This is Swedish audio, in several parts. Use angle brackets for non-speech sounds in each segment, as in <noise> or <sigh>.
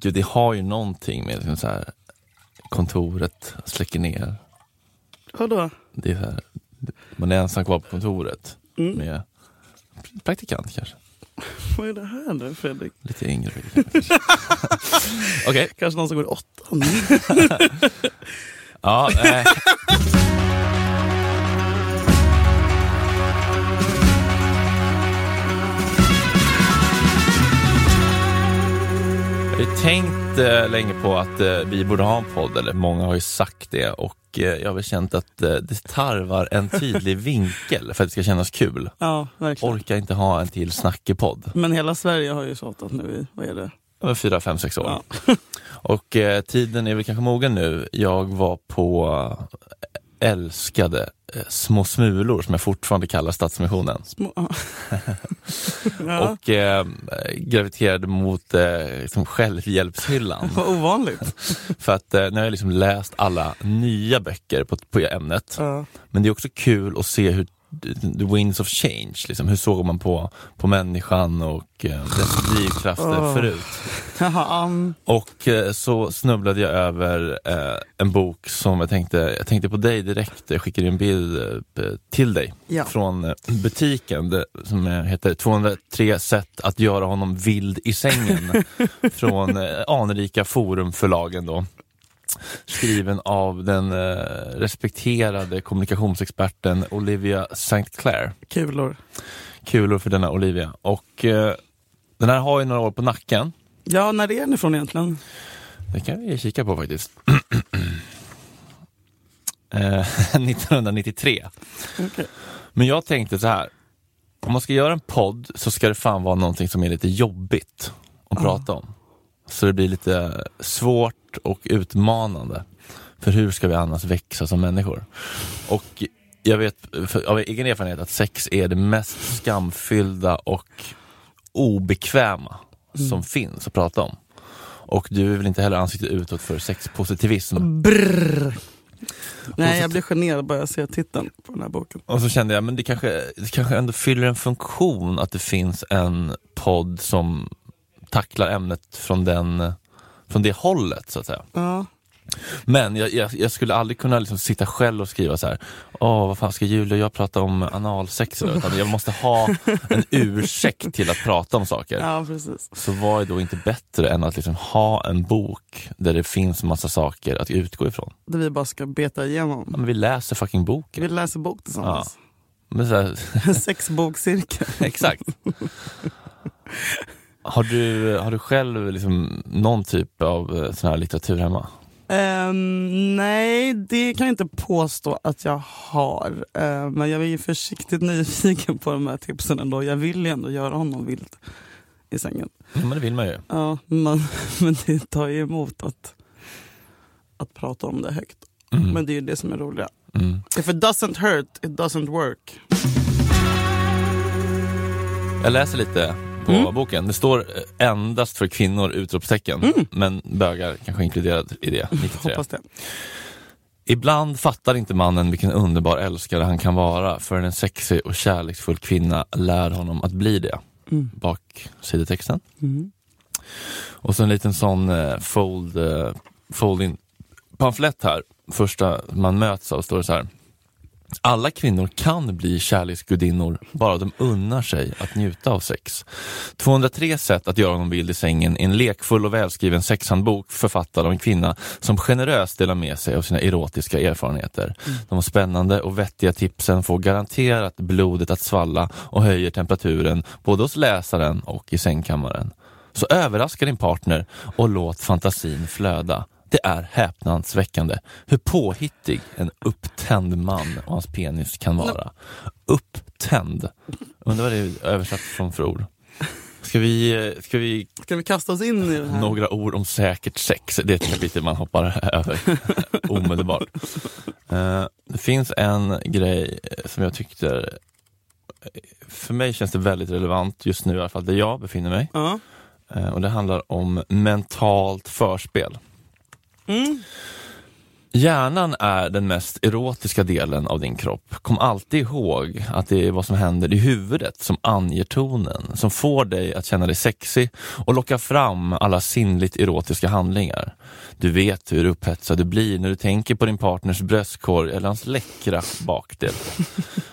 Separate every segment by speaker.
Speaker 1: Gud, det har ju någonting med liksom så här, kontoret släcker ner.
Speaker 2: Vadå?
Speaker 1: Det är så här, man är ensam kvar på kontoret
Speaker 2: Mm.
Speaker 1: med praktikant kanske.
Speaker 2: Vad är det här nu Fredrik?
Speaker 1: Lite yngre. <laughs> kanske. Okej.
Speaker 2: Kanske någon som går i åttan?
Speaker 1: Ja, eh. nej. Jag har ju tänkt eh, länge på att eh, vi borde ha en podd, eller många har ju sagt det och eh, jag har väl känt att eh, det tarvar en tydlig vinkel för att det ska kännas kul.
Speaker 2: Ja, verkligen.
Speaker 1: Orkar inte ha en till snackepodd.
Speaker 2: Men hela Sverige har ju tjatat nu i, vad är det?
Speaker 1: Över fyra, fem, sex år.
Speaker 2: Ja.
Speaker 1: Och eh, tiden är väl kanske mogen nu. Jag var på eh, älskade eh, Små smulor som jag fortfarande kallar Stadsmissionen.
Speaker 2: Små, <laughs> ja. ja.
Speaker 1: Och eh, graviterade mot eh, liksom
Speaker 2: <laughs>
Speaker 1: självhjälpshyllan.
Speaker 2: Vad ovanligt.
Speaker 1: För att eh, nu har jag liksom läst alla nya böcker på, på ämnet.
Speaker 2: Ja.
Speaker 1: Men det är också kul att se hur The Winds of Change, liksom, hur såg man på, på människan och eh, dess drivkrafter
Speaker 2: Åh.
Speaker 1: förut?
Speaker 2: Jaha, um,
Speaker 1: Och eh, så snubblade jag över eh, en bok som jag tänkte, jag tänkte på dig direkt, jag skickade en bild eh, till dig
Speaker 2: Ja.
Speaker 1: från eh, butiken det, som eh, heter 203 sätt att göra honom vild i sängen från eh, anrika forumförlagen då. Skriven av den eh, respekterade kommunikationsexperten Olivia St. Clair.
Speaker 2: kulor.
Speaker 1: Kulor för denna Olivia. Och eh, den här har ju några år på nacken.
Speaker 2: Ja, när är den ifrån egentligen?
Speaker 1: Det kan vi kika på faktiskt. Eh, <laughs> 1993.
Speaker 2: Okej.
Speaker 1: Men jag tänkte så här. Om man ska göra en podd så ska det fan vara någonting som är lite jobbigt att prata om. Så det blir lite svårt och utmanande. För hur ska vi annars växa som människor? Och jag vet för, av egen erfarenhet att sex är det mest skamfyllda och obekväma som finns att prata om. Och du är väl inte heller ansiktet utåt för sexpositivism?
Speaker 2: Brrr. Nej, jag blir generad bara jag ser titeln på den här boken.
Speaker 1: Och så kände jag, men det kanske, det kanske ändå fyller en funktion att det finns en podd som tacklar ämnet från, den, från det hållet, så att säga.
Speaker 2: <laughs> Ja.
Speaker 1: Men jag, jag, jag skulle aldrig kunna liksom sitta själv och skriva så här, åh, vad fan ska Julia och jag prata om analsex idag?" utan jag måste ha
Speaker 2: <laughs>
Speaker 1: en ursäkt till att prata om saker.
Speaker 2: ja, precis.
Speaker 1: Så vad är då inte bättre än att liksom ha en bok där det finns massa saker att utgå ifrån?
Speaker 2: Det vi bara ska beta igenom.
Speaker 1: Ja, men vi läser fucking boken.
Speaker 2: Vi läser bok tillsammans.
Speaker 1: Men så här,
Speaker 2: <laughs> Sexbokcirkel.
Speaker 1: <laughs> Exakt. Har du, har du själv liksom någon typ av eh, sån här litteratur hemma?
Speaker 2: Ehm, nej, det kan jag inte påstå att jag har. Ehm, men jag är ju försiktigt nyfiken på de här tipsen ändå. Jag vill ju ändå göra honom vild i sängen.
Speaker 1: Ja, men det vill man ju.
Speaker 2: Ja, men, <laughs> men det tar ju emot att, att prata om det högt.
Speaker 1: Mm.
Speaker 2: Men det är ju det som är roliga.
Speaker 1: Mm.
Speaker 2: If it doesn't hurt, it doesn't work.
Speaker 1: Jag läser lite på
Speaker 2: Mm.
Speaker 1: boken. Det står eh, endast för kvinnor utropstecken, men bögar kanske inkluderat i det. 93.
Speaker 2: Mm. Hoppas det.
Speaker 1: Ibland fattar inte mannen vilken underbar älskare han kan vara förrän en sexig och kärleksfull kvinna lär honom att bli det.
Speaker 2: Mm.
Speaker 1: Baksidetexten.
Speaker 2: Mm.
Speaker 1: Och så en liten sån eh, fold, eh, fold-in pamflett här. Första man möts av står det så här. Alla kvinnor kan bli kärleksgudinnor, bara de unnar sig att njuta av sex. 203 sätt att göra honom vild i sängen är en lekfull och välskriven sexhandbok författad av en kvinna som generöst delar med sig av sina erotiska erfarenheter. De spännande och vettiga tipsen får garanterat blodet att svalla och höjer temperaturen både hos läsaren och i sängkammaren. Så överraska din partner och låt fantasin flöda. Det är häpnadsväckande hur påhittig en upptänd man och hans penis kan vara. Upptänd. Undrar vad det är översatt från för ord. Ska vi, eh, ska vi
Speaker 2: Ska vi kasta oss in i det här?
Speaker 1: några ord om säkert sex? Det är ett kapitel man hoppar över <laughs> omedelbart. Eh, Det finns en grej eh, som jag tyckte, eh, för mig känns det väldigt relevant just nu i alla fall där jag befinner mig.
Speaker 2: Ja.
Speaker 1: Eh, Och det handlar om mentalt förspel.
Speaker 2: Mm.
Speaker 1: Hjärnan är den mest erotiska delen av din kropp. Kom alltid ihåg att det är vad som händer i huvudet som anger tonen, som får dig att känna dig sexig och lockar fram alla sinnligt erotiska handlingar. Du vet hur upphetsad du blir när du tänker på din partners bröstkorg eller hans läckra
Speaker 2: <laughs>
Speaker 1: bakdel.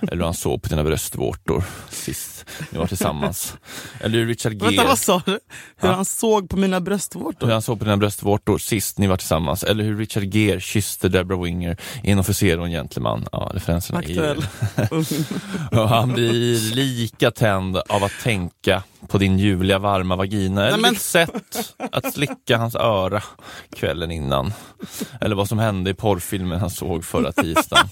Speaker 1: Eller hur han såg på dina bröstvårtor sist ni var tillsammans. Eller hur Richard Gere...
Speaker 2: Vänta, vad sa du? Hur
Speaker 1: Ja.
Speaker 2: han såg på mina bröstvårtor?
Speaker 1: Hur han såg på dina bröstvårtor sist ni var tillsammans, eller hur Richard Gere kysste Deborah Winger i En officer och en gentleman. Ja, referenserna är ju...
Speaker 2: Aktuell. <laughs>
Speaker 1: Och han blir lika tänd av att tänka på din ljuvliga varma vagina, eller
Speaker 2: Nej, men-
Speaker 1: ditt sätt att slicka hans öra kvällen innan. Eller vad som hände i porrfilmen han såg förra tisdagen.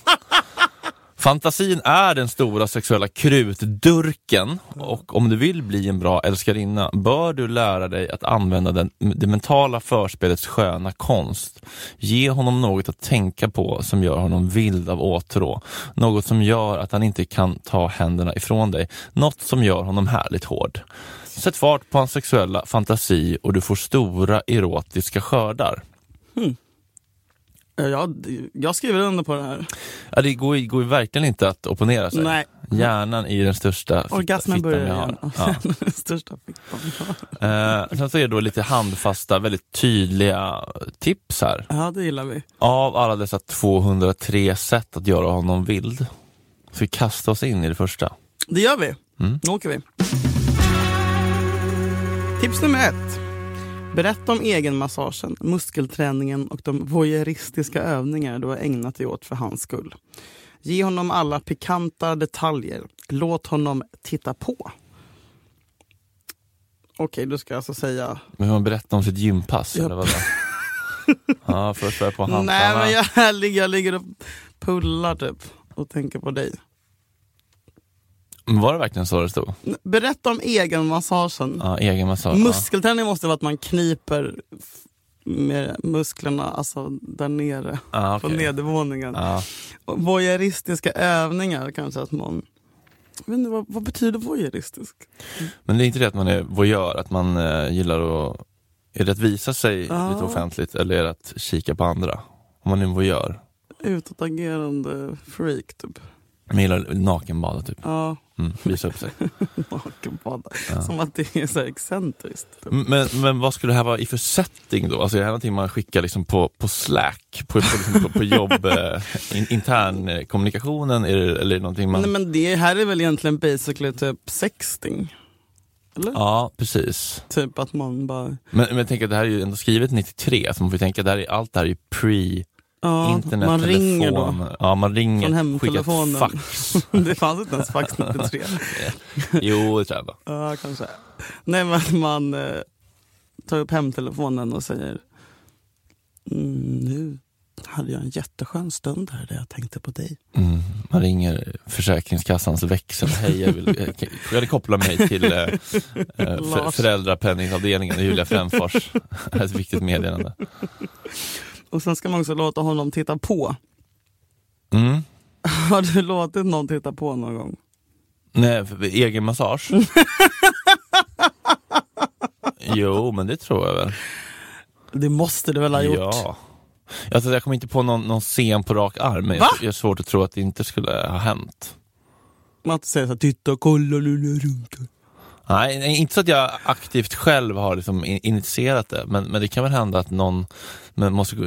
Speaker 1: Fantasin är den stora sexuella krutdurken och om du vill bli en bra älskarinna bör du lära dig att använda den, det mentala förspelets sköna konst. Ge honom något att tänka på som gör honom vild av åtrå. Något som gör att han inte kan ta händerna ifrån dig. Något som gör honom härligt hård. Sätt fart på hans sexuella fantasi och du får stora erotiska skördar.
Speaker 2: Jag, Eh, jag skriver under på det här.
Speaker 1: Ja, det går, ju- går ju verkligen inte att opponera sig.
Speaker 2: Nej, <laughs>
Speaker 1: Hjärnan är ju den största fitta-
Speaker 2: orgasmen
Speaker 1: fittan
Speaker 2: börjar
Speaker 1: vi har.
Speaker 2: igen.
Speaker 1: Ja.
Speaker 2: Den största fittan. jag har.
Speaker 1: Eh, sen så är det då lite handfasta, väldigt tydliga tips här.
Speaker 2: Ja, det gillar vi.
Speaker 1: Av alla dessa 203 sätt att göra honom vild. Så vi kastar oss in i det första.
Speaker 2: Det gör vi.
Speaker 1: Mm.
Speaker 2: Nu åker vi. Tips nummer ett. Berätta om egenmassagen, muskelträningen och de voyeuristiska övningar du har ägnat dig åt för hans skull. Ge honom alla pikanta detaljer. Låt honom titta på. Okej, du ska jag alltså säga...
Speaker 1: Men man berättar om sitt gympass
Speaker 2: Ja.
Speaker 1: eller vad det Ja, först var jag på hantlarna.
Speaker 2: <laughs> Nej, men jag, här ligger, jag ligger och pullar typ och tänker på dig.
Speaker 1: Men Var det verkligen så det stod?
Speaker 2: Berätta om egenmassagen.
Speaker 1: Ja, egen massage.
Speaker 2: Muskelträning måste vara att man kniper f- med musklerna alltså där nere
Speaker 1: ja. Ja,
Speaker 2: på
Speaker 1: Ah, okej.
Speaker 2: nedervåningen.
Speaker 1: Ja.
Speaker 2: Och Voyeuristiska övningar kanske att man... Jag vet inte, vad, vad betyder voyeuristisk?
Speaker 1: Men det är inte det att man är voyeur, att man eh, gillar att... Är det att visa sig
Speaker 2: Ja.
Speaker 1: lite offentligt eller är det att kika på andra? Om man är en voyeur.
Speaker 2: Utåtagerande freak typ.
Speaker 1: Man gillar nakenbada typ,
Speaker 2: Ja, <laughs>
Speaker 1: mm, visa upp sig.
Speaker 2: nakenbada.
Speaker 1: Ja.
Speaker 2: Som att det är så här excentriskt. Typ.
Speaker 1: M- Men, men vad skulle det här vara i för setting då? Alltså är det här någonting man skickar liksom på, på slack, på, på, liksom på, på jobb, eh, in, intern eh, kommunikationen är det, eller är det någonting man...
Speaker 2: Nej men det här är väl egentligen basically typ sexting. Eller?
Speaker 1: Ja, precis.
Speaker 2: Typ att man bara...
Speaker 1: Men, men jag tänker att det här är ju ändå skrivet 93, så man får ju tänka att det här är, allt det här är ju pre-internet,
Speaker 2: Ja, man ringer då.
Speaker 1: telefon. Ja, man ringer,
Speaker 2: Från
Speaker 1: skickar ett
Speaker 2: hemtelefonen. <laughs>
Speaker 1: fax.
Speaker 2: Det fanns inte ens
Speaker 1: <laughs>
Speaker 2: fax 93.
Speaker 1: Jo, det tror jag. va.
Speaker 2: Ja, kanske. Nej, men att man eh, tar upp hemtelefonen och säger mm, nu hade jag en jätteskön stund här där jag tänkte på dig.
Speaker 1: Mm. Man ringer Försäkringskassans växel. Hej, jag vill, eh, kan- jag vill koppla mig till eh, eh, för,
Speaker 2: Lars.
Speaker 1: föräldrapenningavdelningen i Julia
Speaker 2: <laughs>
Speaker 1: Fränfors. Det här är ett viktigt meddelande.
Speaker 2: Och sen ska man också låta honom titta på. <laughs>
Speaker 1: Mm.
Speaker 2: Har du låtit någon titta på någon gång?
Speaker 1: Nej, för- egen
Speaker 2: <laughs>
Speaker 1: massage. Jo, men det tror jag väl.
Speaker 2: Det måste du väl ha gjort?
Speaker 1: Ja. Alltså, jag kommer inte på någon, någon scen på rak arm, men
Speaker 2: Va?
Speaker 1: jag, jag har svårt att tro att det inte skulle ha hänt.
Speaker 2: Man säger så här, titta kolla lilla runka.
Speaker 1: Nej, nej, inte så att jag aktivt själv har liksom in- initierat det, men, men det kan väl hända att någon men måste gå,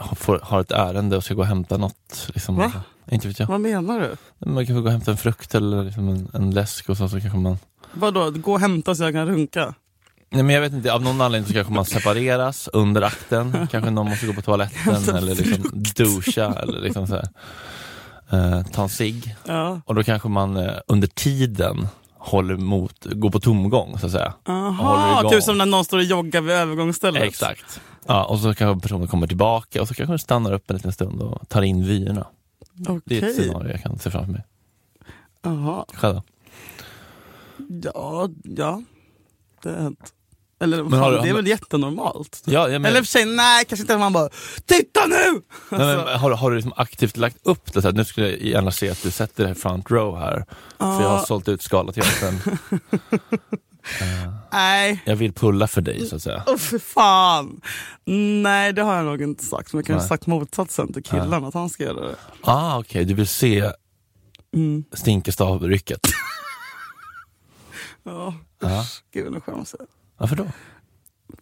Speaker 1: ha, får, har ett ärende och ska gå och hämta något. Liksom.
Speaker 2: Va?
Speaker 1: Inte vet jag.
Speaker 2: Vad menar du?
Speaker 1: Man kanske går och hämtar en frukt eller liksom en, en läsk och så, så kanske man...
Speaker 2: Vadå, gå och hämta så jag kan runka?
Speaker 1: Nej men jag vet inte, av någon anledning så kanske man separeras under akten. Kanske någon måste gå på
Speaker 2: <laughs>
Speaker 1: toaletten
Speaker 2: Hämta
Speaker 1: eller liksom duscha eller liksom så här. Eh, ta en cigg.
Speaker 2: Ja.
Speaker 1: Och då kanske man eh, under tiden håller emot, går på tomgång så att säga. Håller
Speaker 2: Aha,
Speaker 1: igång.
Speaker 2: typ som när någon står och joggar vid övergångsstället.
Speaker 1: Exakt. Ja, och så kanske personen kommer tillbaka och så kanske den stannar upp en liten stund och tar in vyerna. Det är ett
Speaker 2: Okej.
Speaker 1: scenario jag kan se framför mig.
Speaker 2: Aha.
Speaker 1: Själv då?
Speaker 2: Ja, ja. Det har hänt. Eller
Speaker 1: Men har du-
Speaker 2: fan, det är väl jättenormalt?
Speaker 1: Ja, jag menar,
Speaker 2: Eller i och för sig, nej kanske inte man bara Titta nu!
Speaker 1: <laughs> nej, men, har, har du liksom aktivt lagt upp det så här, nu skulle jag gärna se att du sätter dig front row här, för jag har
Speaker 2: Ja,
Speaker 1: sålt ut Scalateatern.
Speaker 2: Nej.
Speaker 1: Jag vill pulla för dig så att säga.
Speaker 2: Åh för fan! Nej det har jag nog inte sagt, men jag kanske
Speaker 1: Nej.
Speaker 2: sagt motsatsen till killen, att han ska göra det.
Speaker 1: Ah, okej, du vill se
Speaker 2: Mm.
Speaker 1: stinkestav-rycket. <laughs>
Speaker 2: Ja,
Speaker 1: Ja.
Speaker 2: usch, gud nu skäms jag.
Speaker 1: Varför då?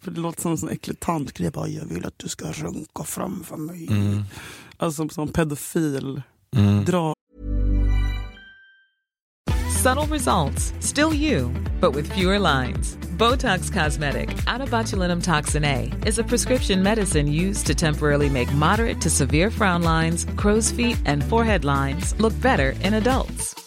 Speaker 2: För det låter som en sån äcklig tant. Jag, bara, jag vill att du ska runka framför mig.
Speaker 1: Mm.
Speaker 2: Alltså som pedofil.
Speaker 1: Mm.
Speaker 2: Dra
Speaker 3: Subtle results, still you, but with fewer lines. Botox Cosmetic, out of botulinum toxin A, is a prescription medicine used to temporarily make moderate to severe frown lines, crow's feet, and forehead lines look better in adults.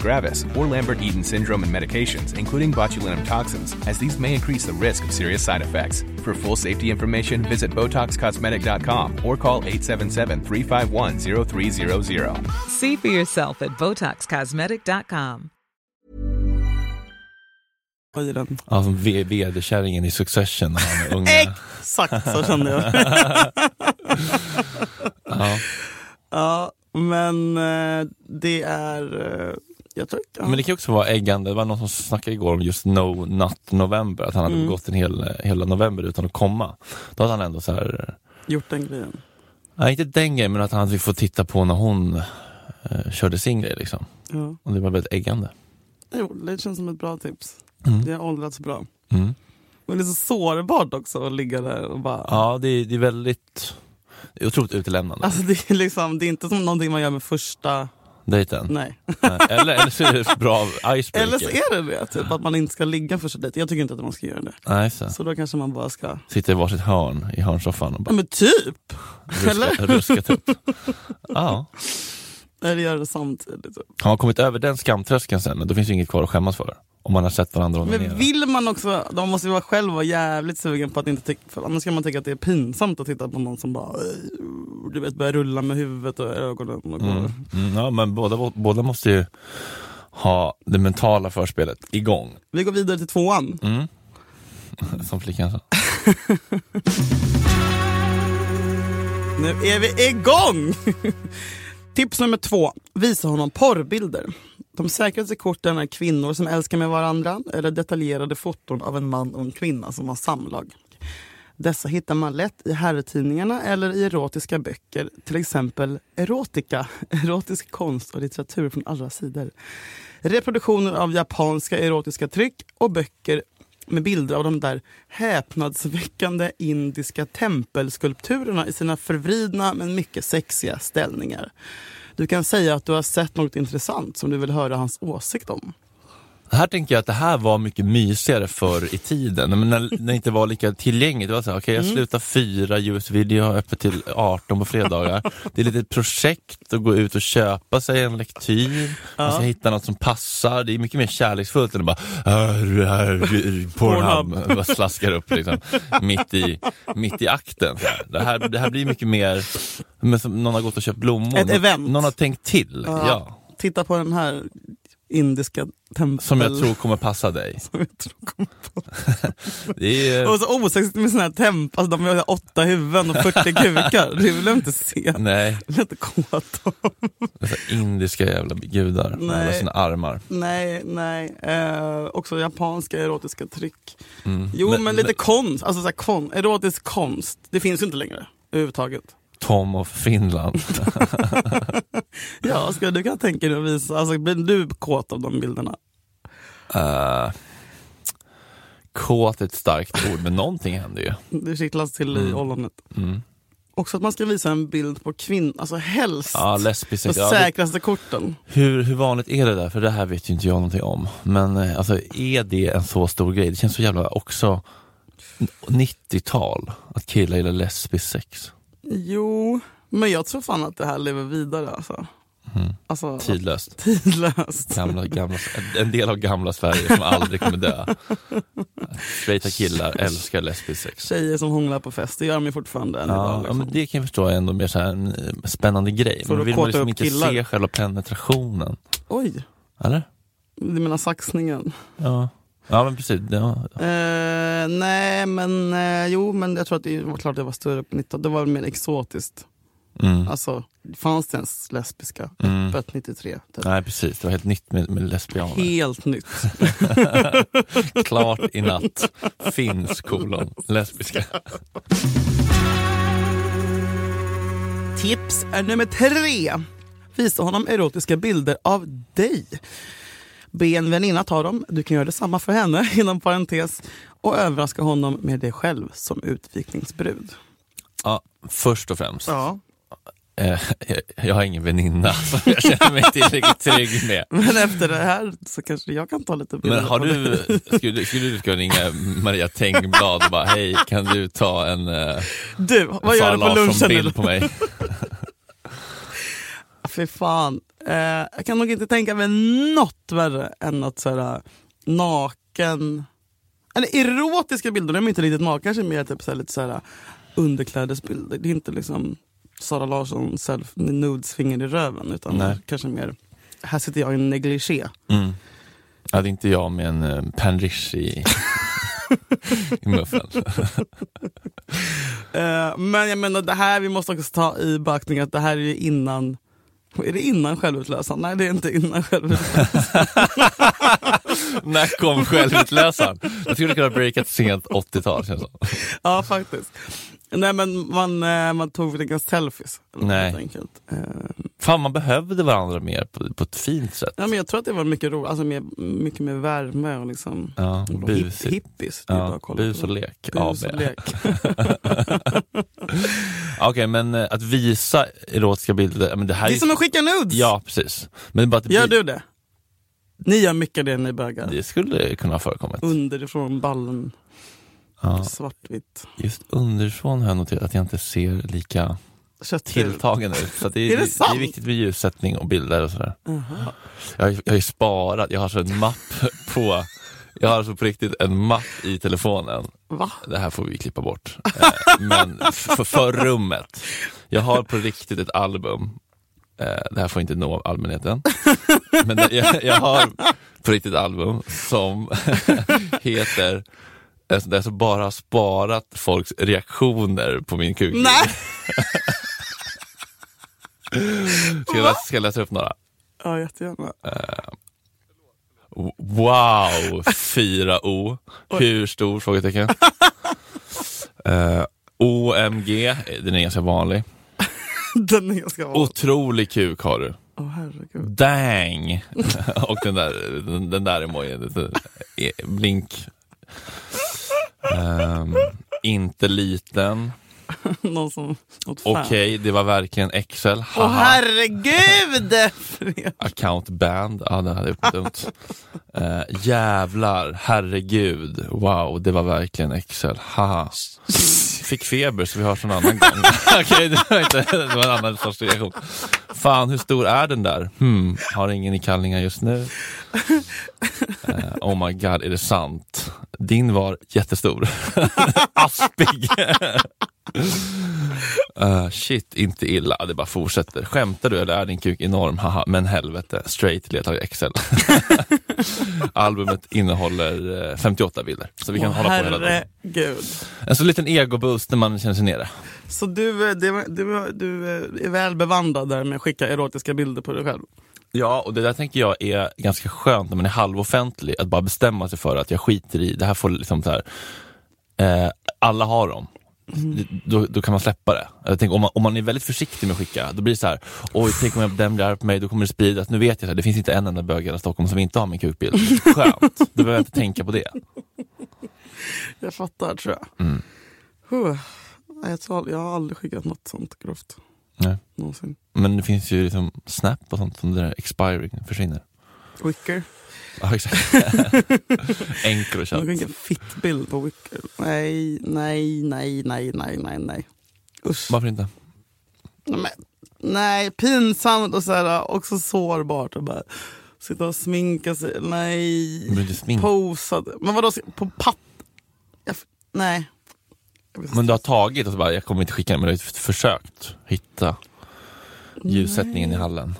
Speaker 4: gravis, or Lambert-Eaton syndrome and medications, including botulinum toxins, as these may increase the risk of serious side effects. For full safety information, visit BotoxCosmetic.com or call 877-351-0300.
Speaker 3: See for yourself at BotoxCosmetic.com.
Speaker 2: i den.
Speaker 1: Ja, som v- vederkärringen i Succession. när han är unga.
Speaker 2: <laughs> Exakt så kände jag.
Speaker 1: <laughs> ja.
Speaker 2: ja, men eh, det är... eh, Jag tror inte...
Speaker 1: Men det kan ju också vara äggande. Det var någon som snackade igår om just No Nut November. Att han
Speaker 2: Mm.
Speaker 1: hade gått en hel, hela november utan att komma. Då hade han ändå så här...
Speaker 2: gjort den grejen.
Speaker 1: Nej, inte den grejen, men att han fick få titta på när hon eh, körde sin grej. Liksom.
Speaker 2: Ja.
Speaker 1: Och det var väldigt äggande.
Speaker 2: Jo, det känns som ett bra tips.
Speaker 1: Mm.
Speaker 2: Det har åldrats bra.
Speaker 1: Mm.
Speaker 2: Men det är så sårbart också att ligga där och bara...
Speaker 1: Ja, det, är- det är väldigt... Det är otroligt utelämnande.
Speaker 2: Alltså det är, liksom, det är inte som någonting man gör med första... <laughs>
Speaker 1: Dejten.
Speaker 2: Nej.
Speaker 1: Nej. Eller, eller så är det bra icebreaker.
Speaker 2: Eller så är det det, typ, att man inte ska ligga första dejten. Jag tycker inte att man ska göra det.
Speaker 1: Nej, så.
Speaker 2: Så då kanske man bara ska...
Speaker 1: Sitter i varsitt hörn i hörnsoffan och
Speaker 2: Ja
Speaker 1: bara
Speaker 2: men typ!
Speaker 1: ruska, ruskat
Speaker 2: <laughs>
Speaker 1: upp. Ja.
Speaker 2: Eller göra det samtidigt. Typ.
Speaker 1: Har man kommit över den skamtröskeln sen, då finns ju inget kvar att skämmas för. Om man har sett varandra onanera.
Speaker 2: Men vill man också, de måste ju vara själv vara jävligt sugen på att inte tycka, för annars kan man tycka att det är pinsamt att titta på någon som bara eh, du vet, börjar rulla med huvudet och ögonen. Och
Speaker 1: Mm. Mm, ja, men båda, båda måste ju ha det mentala förspelet igång.
Speaker 2: Vi går vidare till tvåan.
Speaker 1: Mm. <laughs> Som flickan sa.
Speaker 2: Nu är vi igång! <laughs> Tips nummer två. Visa honom porrbilder. De säkraste korten är kvinnor som älskar med varandra eller detaljerade foton av en man och en kvinna som har samlag. Dessa hittar man lätt i herrtidningarna eller i erotiska böcker, till exempel erotika, <laughs> erotisk konst och litteratur från alla sidor. Reproduktioner av japanska erotiska tryck och böcker med bilder av de där häpnadsväckande indiska tempelskulpturerna i sina förvridna men mycket sexiga ställningar. Du kan säga att du har sett något intressant som du vill höra hans åsikt om.
Speaker 1: Här tänker jag att det här var mycket mysigare förr i tiden. Men när, när det inte var lika tillgängligt. Det var så här, okej jag slutar fyra, ljusvideo har öppet till 18 på fredagar. Det är lite ett projekt att gå ut och köpa sig en lektyr. Man ska hitta något som passar. Det är mycket mer kärleksfullt än att bara "Arr, arr, arr", Pornhub bara slaskar upp liksom, mitt, i, mitt i akten. så här. Det här, det här blir mycket mer, men som någon har gått och köpt blommor.
Speaker 2: Ett
Speaker 1: Nå-
Speaker 2: event.
Speaker 1: Någon har tänkt till. Ja.
Speaker 2: Titta på den här indiska tempel...
Speaker 1: Som jag tror kommer passa dig.
Speaker 2: som jag tror kommer på.
Speaker 1: Det är,
Speaker 2: <laughs> <laughs> Och så osexigt med såna här temp, alltså de har åtta huvuden och 40
Speaker 1: <laughs>
Speaker 2: kukar. Det vill jag inte se.
Speaker 1: Nej,
Speaker 2: Jag vill inte kåt av.
Speaker 1: dessa indiska jävla gudar med
Speaker 2: Nej.
Speaker 1: alla sina armar.
Speaker 2: <laughs> Nej, nej. Eh, också japanska erotiska tryck.
Speaker 1: Mm.
Speaker 2: Jo, men, lite konst. Alltså så här, kon, erotisk konst. Det finns ju inte längre
Speaker 1: <laughs>
Speaker 2: överhuvudtaget.
Speaker 1: Tom of
Speaker 2: <laughs>
Speaker 1: Finland.
Speaker 2: Ja, ska, du kan tänka dig att visa. Alltså, blir du kåt av de bilderna?
Speaker 1: uh, kåt är ett starkt ord, men någonting händer ju.
Speaker 2: Du kittlas till i
Speaker 1: Mm.
Speaker 2: ollonet.
Speaker 1: Mm.
Speaker 2: Också att man ska visa en bild på kvinnan, alltså helst.
Speaker 1: Ja, lesbisk
Speaker 2: de
Speaker 1: sex. Ja, det,
Speaker 2: säkraste korten.
Speaker 1: hur, hur vanligt är det där? För det här vet ju inte jag någonting om. Men eh, alltså, är det en så stor grej? Det känns så jävla också 90-tal, att killar gillar lesbisk sex.
Speaker 2: Jo, men jag tror fan att det här lever vidare. Alltså.
Speaker 1: Mm.
Speaker 2: Alltså,
Speaker 1: Tidlöst.
Speaker 2: tidlöst.
Speaker 1: Gamla, gamla, en del av gamla Sverige som aldrig kommer dö. Straighta killar älskar lesbisk sex.
Speaker 2: Tjejer som hånglar på fest, det gör de ju fortfarande. än idag,
Speaker 1: Ja, ja,
Speaker 2: liksom.
Speaker 1: men det kan jag förstå är ändå mer så här en eh, spännande grej.
Speaker 2: För
Speaker 1: Men
Speaker 2: att
Speaker 1: vill
Speaker 2: kåta
Speaker 1: man liksom
Speaker 2: upp
Speaker 1: inte
Speaker 2: killar.
Speaker 1: se själva penetrationen?
Speaker 2: Oj,
Speaker 1: Eller?
Speaker 2: du menar saxningen?
Speaker 1: Ja, ja men precis. Ja.
Speaker 2: Eh, nej, men eh, jo, men jag tror att det var klart det var större på 90 Det var mer exotiskt.
Speaker 1: Mm.
Speaker 2: Alltså, fanns det ens lesbiska
Speaker 1: Mm.
Speaker 2: öppet 93? Typ.
Speaker 1: Nej precis, det var helt nytt med, med lesbianer. <laughs>
Speaker 2: Helt nytt.
Speaker 1: Klart i natt. Finns kolon lesbiska.
Speaker 2: Tips är nummer tre. Visa honom erotiska bilder av dig. Be en väninna ta dem, du kan göra detsamma för henne <laughs> inom parentes. Och överraska honom med dig själv som utvikningsbrud.
Speaker 1: Ja, först och främst.
Speaker 2: Ja,
Speaker 1: Eh, jag har ingen väninna som jag känner mig tillräckligt trygg med.
Speaker 2: <laughs> men efter det här så kanske jag kan ta lite bilder.
Speaker 1: Men har
Speaker 2: på
Speaker 1: du,
Speaker 2: dig.
Speaker 1: <laughs> skulle, skulle du kunna ringa Maria Tengblad och bara hej, kan du ta en eh,
Speaker 2: Du, <laughs> vad gör
Speaker 1: Sara
Speaker 2: du på lunchen?
Speaker 1: Larsson-bild
Speaker 2: Eller?
Speaker 1: på
Speaker 2: <laughs>
Speaker 1: mig?
Speaker 2: Fy fan. Eh, jag kan nog inte tänka mig något värre än att såhär, naken... Eller erotiska bilder, de är inte riktigt nakna, kanske mer typ såhär, lite såhär, underklädesbilder. Det är inte liksom Sara Larsson self nudes finger i röven utan
Speaker 1: Nej.
Speaker 2: kanske mer, här sitter jag i en negligé.
Speaker 1: Mm. Ja, det är inte jag med en eh, panrish
Speaker 2: <laughs>
Speaker 1: i, i muffen.
Speaker 2: Eh, men jag menar det här, vi måste också ta i beaktning att det här är ju innan är det innan självutlösaren? Nej det är inte innan självutlösaren.
Speaker 1: När kom självutlösaren? Jag skulle kunna breaka ett sent 80-tal känns det som.
Speaker 2: ja faktiskt. Nej men man, eh, man tog väl inga selfies.
Speaker 1: Nej.
Speaker 2: Helt enkelt. Eh,
Speaker 1: Fan, man behövde varandra mer på, på ett fint sätt.
Speaker 2: Ja, men jag tror att det var mycket roligt, alltså mer, mycket mer värme och liksom
Speaker 1: Ja,
Speaker 2: och
Speaker 1: bus,
Speaker 2: hipp, hippies. Det är bara
Speaker 1: ja,
Speaker 2: att kolla
Speaker 1: bus
Speaker 2: på.
Speaker 1: och lek.
Speaker 2: Bus
Speaker 1: AB. <laughs>
Speaker 2: och lek.
Speaker 1: Okej, men eh, att visa erotiska bilder, ja, men det här
Speaker 2: Det är
Speaker 1: är
Speaker 2: som att skicka nudes!
Speaker 1: Ja, precis. Men bara att det,
Speaker 2: Gör
Speaker 1: blir-
Speaker 2: du det? Ni gör mycket det ni bögar.
Speaker 1: det skulle kunna ha förekommit.
Speaker 2: Underifrån, ballen,
Speaker 1: Ja,
Speaker 2: svartvitt.
Speaker 1: just underifrån har jag noterat att jag inte ser lika
Speaker 2: Köttkul.
Speaker 1: tilltagen ut. Så att det,
Speaker 2: <laughs> Är
Speaker 1: är,
Speaker 2: det
Speaker 1: det, är
Speaker 2: sant?
Speaker 1: viktigt med ljussättning och bilder och sådär. Jag, har ju- jag har ju sparat, jag har så en mapp <laughs> på jag har alltså på riktigt en mapp i telefonen.
Speaker 2: Va?
Speaker 1: Det här får vi klippa bort. Eh, Men f- för, för rummet. Jag har på riktigt ett album. Eh, Det här får inte nå allmänheten. Men det- jag, jag har på riktigt ett album som <laughs> heter eh, där jag bara har sparat folks reaktioner på min kuk.
Speaker 2: Nej!
Speaker 1: Ska jag, läsa, ska jag läsa upp några?
Speaker 2: Ja, jättegärna.
Speaker 1: W- Wow, 4O. Hur stor? Frågetecken. Eh, OMG, den är ganska vanlig.
Speaker 2: <laughs> Den är ganska vanlig.
Speaker 1: Otrolig kuk har du.
Speaker 2: Åh herregud.
Speaker 1: Dang! <laughs> Och den där, den, den där emojin, lite, eh, blink. Ehm, inte liten.
Speaker 2: Någon som åt fan.
Speaker 1: Okej, det var verkligen Excel.
Speaker 2: Åh
Speaker 1: Haha.
Speaker 2: herregud! <laughs> Fred.
Speaker 1: Account band. Ja, det hade jag gjort dumt. Eh, jävlar, herregud. Wow, det var verkligen Excel. Haha. Fick feber så vi hörs en annan gång. <laughs> Okej, det, var inte- det var en annan sorts reaktion. Fan, hur stor är den där? Hmm, har ingen i kallingar just nu. Eh, oh my god, är det sant? Din var jättestor. <laughs> Aspig. <laughs> Eh, shit, inte illa. Det bara fortsätter. Skämtar du eller är din kuk enorm? Haha, men helvete. Straight letar i Excel. <laughs> Albumet innehåller eh, 58 bilder. Så vi kan
Speaker 2: Åh,
Speaker 1: hålla på hela dagen.
Speaker 2: herregud.
Speaker 1: Alltså, En så liten egoboost när man känner sig nere.
Speaker 2: Så du, eh, det, var- du, var- du eh, är väl bevandrad där med att skicka erotiska bilder på dig själv?
Speaker 1: Ja, och det där tänker jag är ganska skönt när man är halvoffentlig, att bara bestämma sig för att jag skiter i, det här får liksom så här, eh, alla har dem. Då, då kan man släppa det. Alltså, Jag tänker, om, man, om man är väldigt försiktig med att skicka, då blir det så här, oj, tänk om jag, den blir arg på mig, då kommer det spridas. Nu vet jag, så här, det finns inte en enda bög i hela Stockholm som inte har min kukbild. <laughs> Skönt, då behöver jag inte tänka på det.
Speaker 2: Jag fattar tror jag.
Speaker 1: Mm.
Speaker 2: Huh. Nej, Jag, tror, aldrig- jag har aldrig skickat något sånt grovt.
Speaker 1: Nej.
Speaker 2: Någonsin.
Speaker 1: Men det finns ju liksom Snap och sånt som det där expiring försvinner. <laughs>
Speaker 2: Wicker?
Speaker 1: Ja, <laughs> exakt. Encrochat.
Speaker 2: Man kan skicka en fittbild på Wicker. Nej, nej, nej, nej, nej, nej. Usch.
Speaker 1: Varför inte?
Speaker 2: Nej, men, nej, pinsamt och så här, också sårbart. Och bara, sitta och sminka sig. Nej.
Speaker 1: Men du smink-
Speaker 2: Posad. Men vadå, ska- på patt... Jag, f- nej. Jag vet
Speaker 1: Men
Speaker 2: inte.
Speaker 1: du har tagit och så bara, jag kommer inte skicka den, men du har ju försökt hitta ljussättningen i hallen.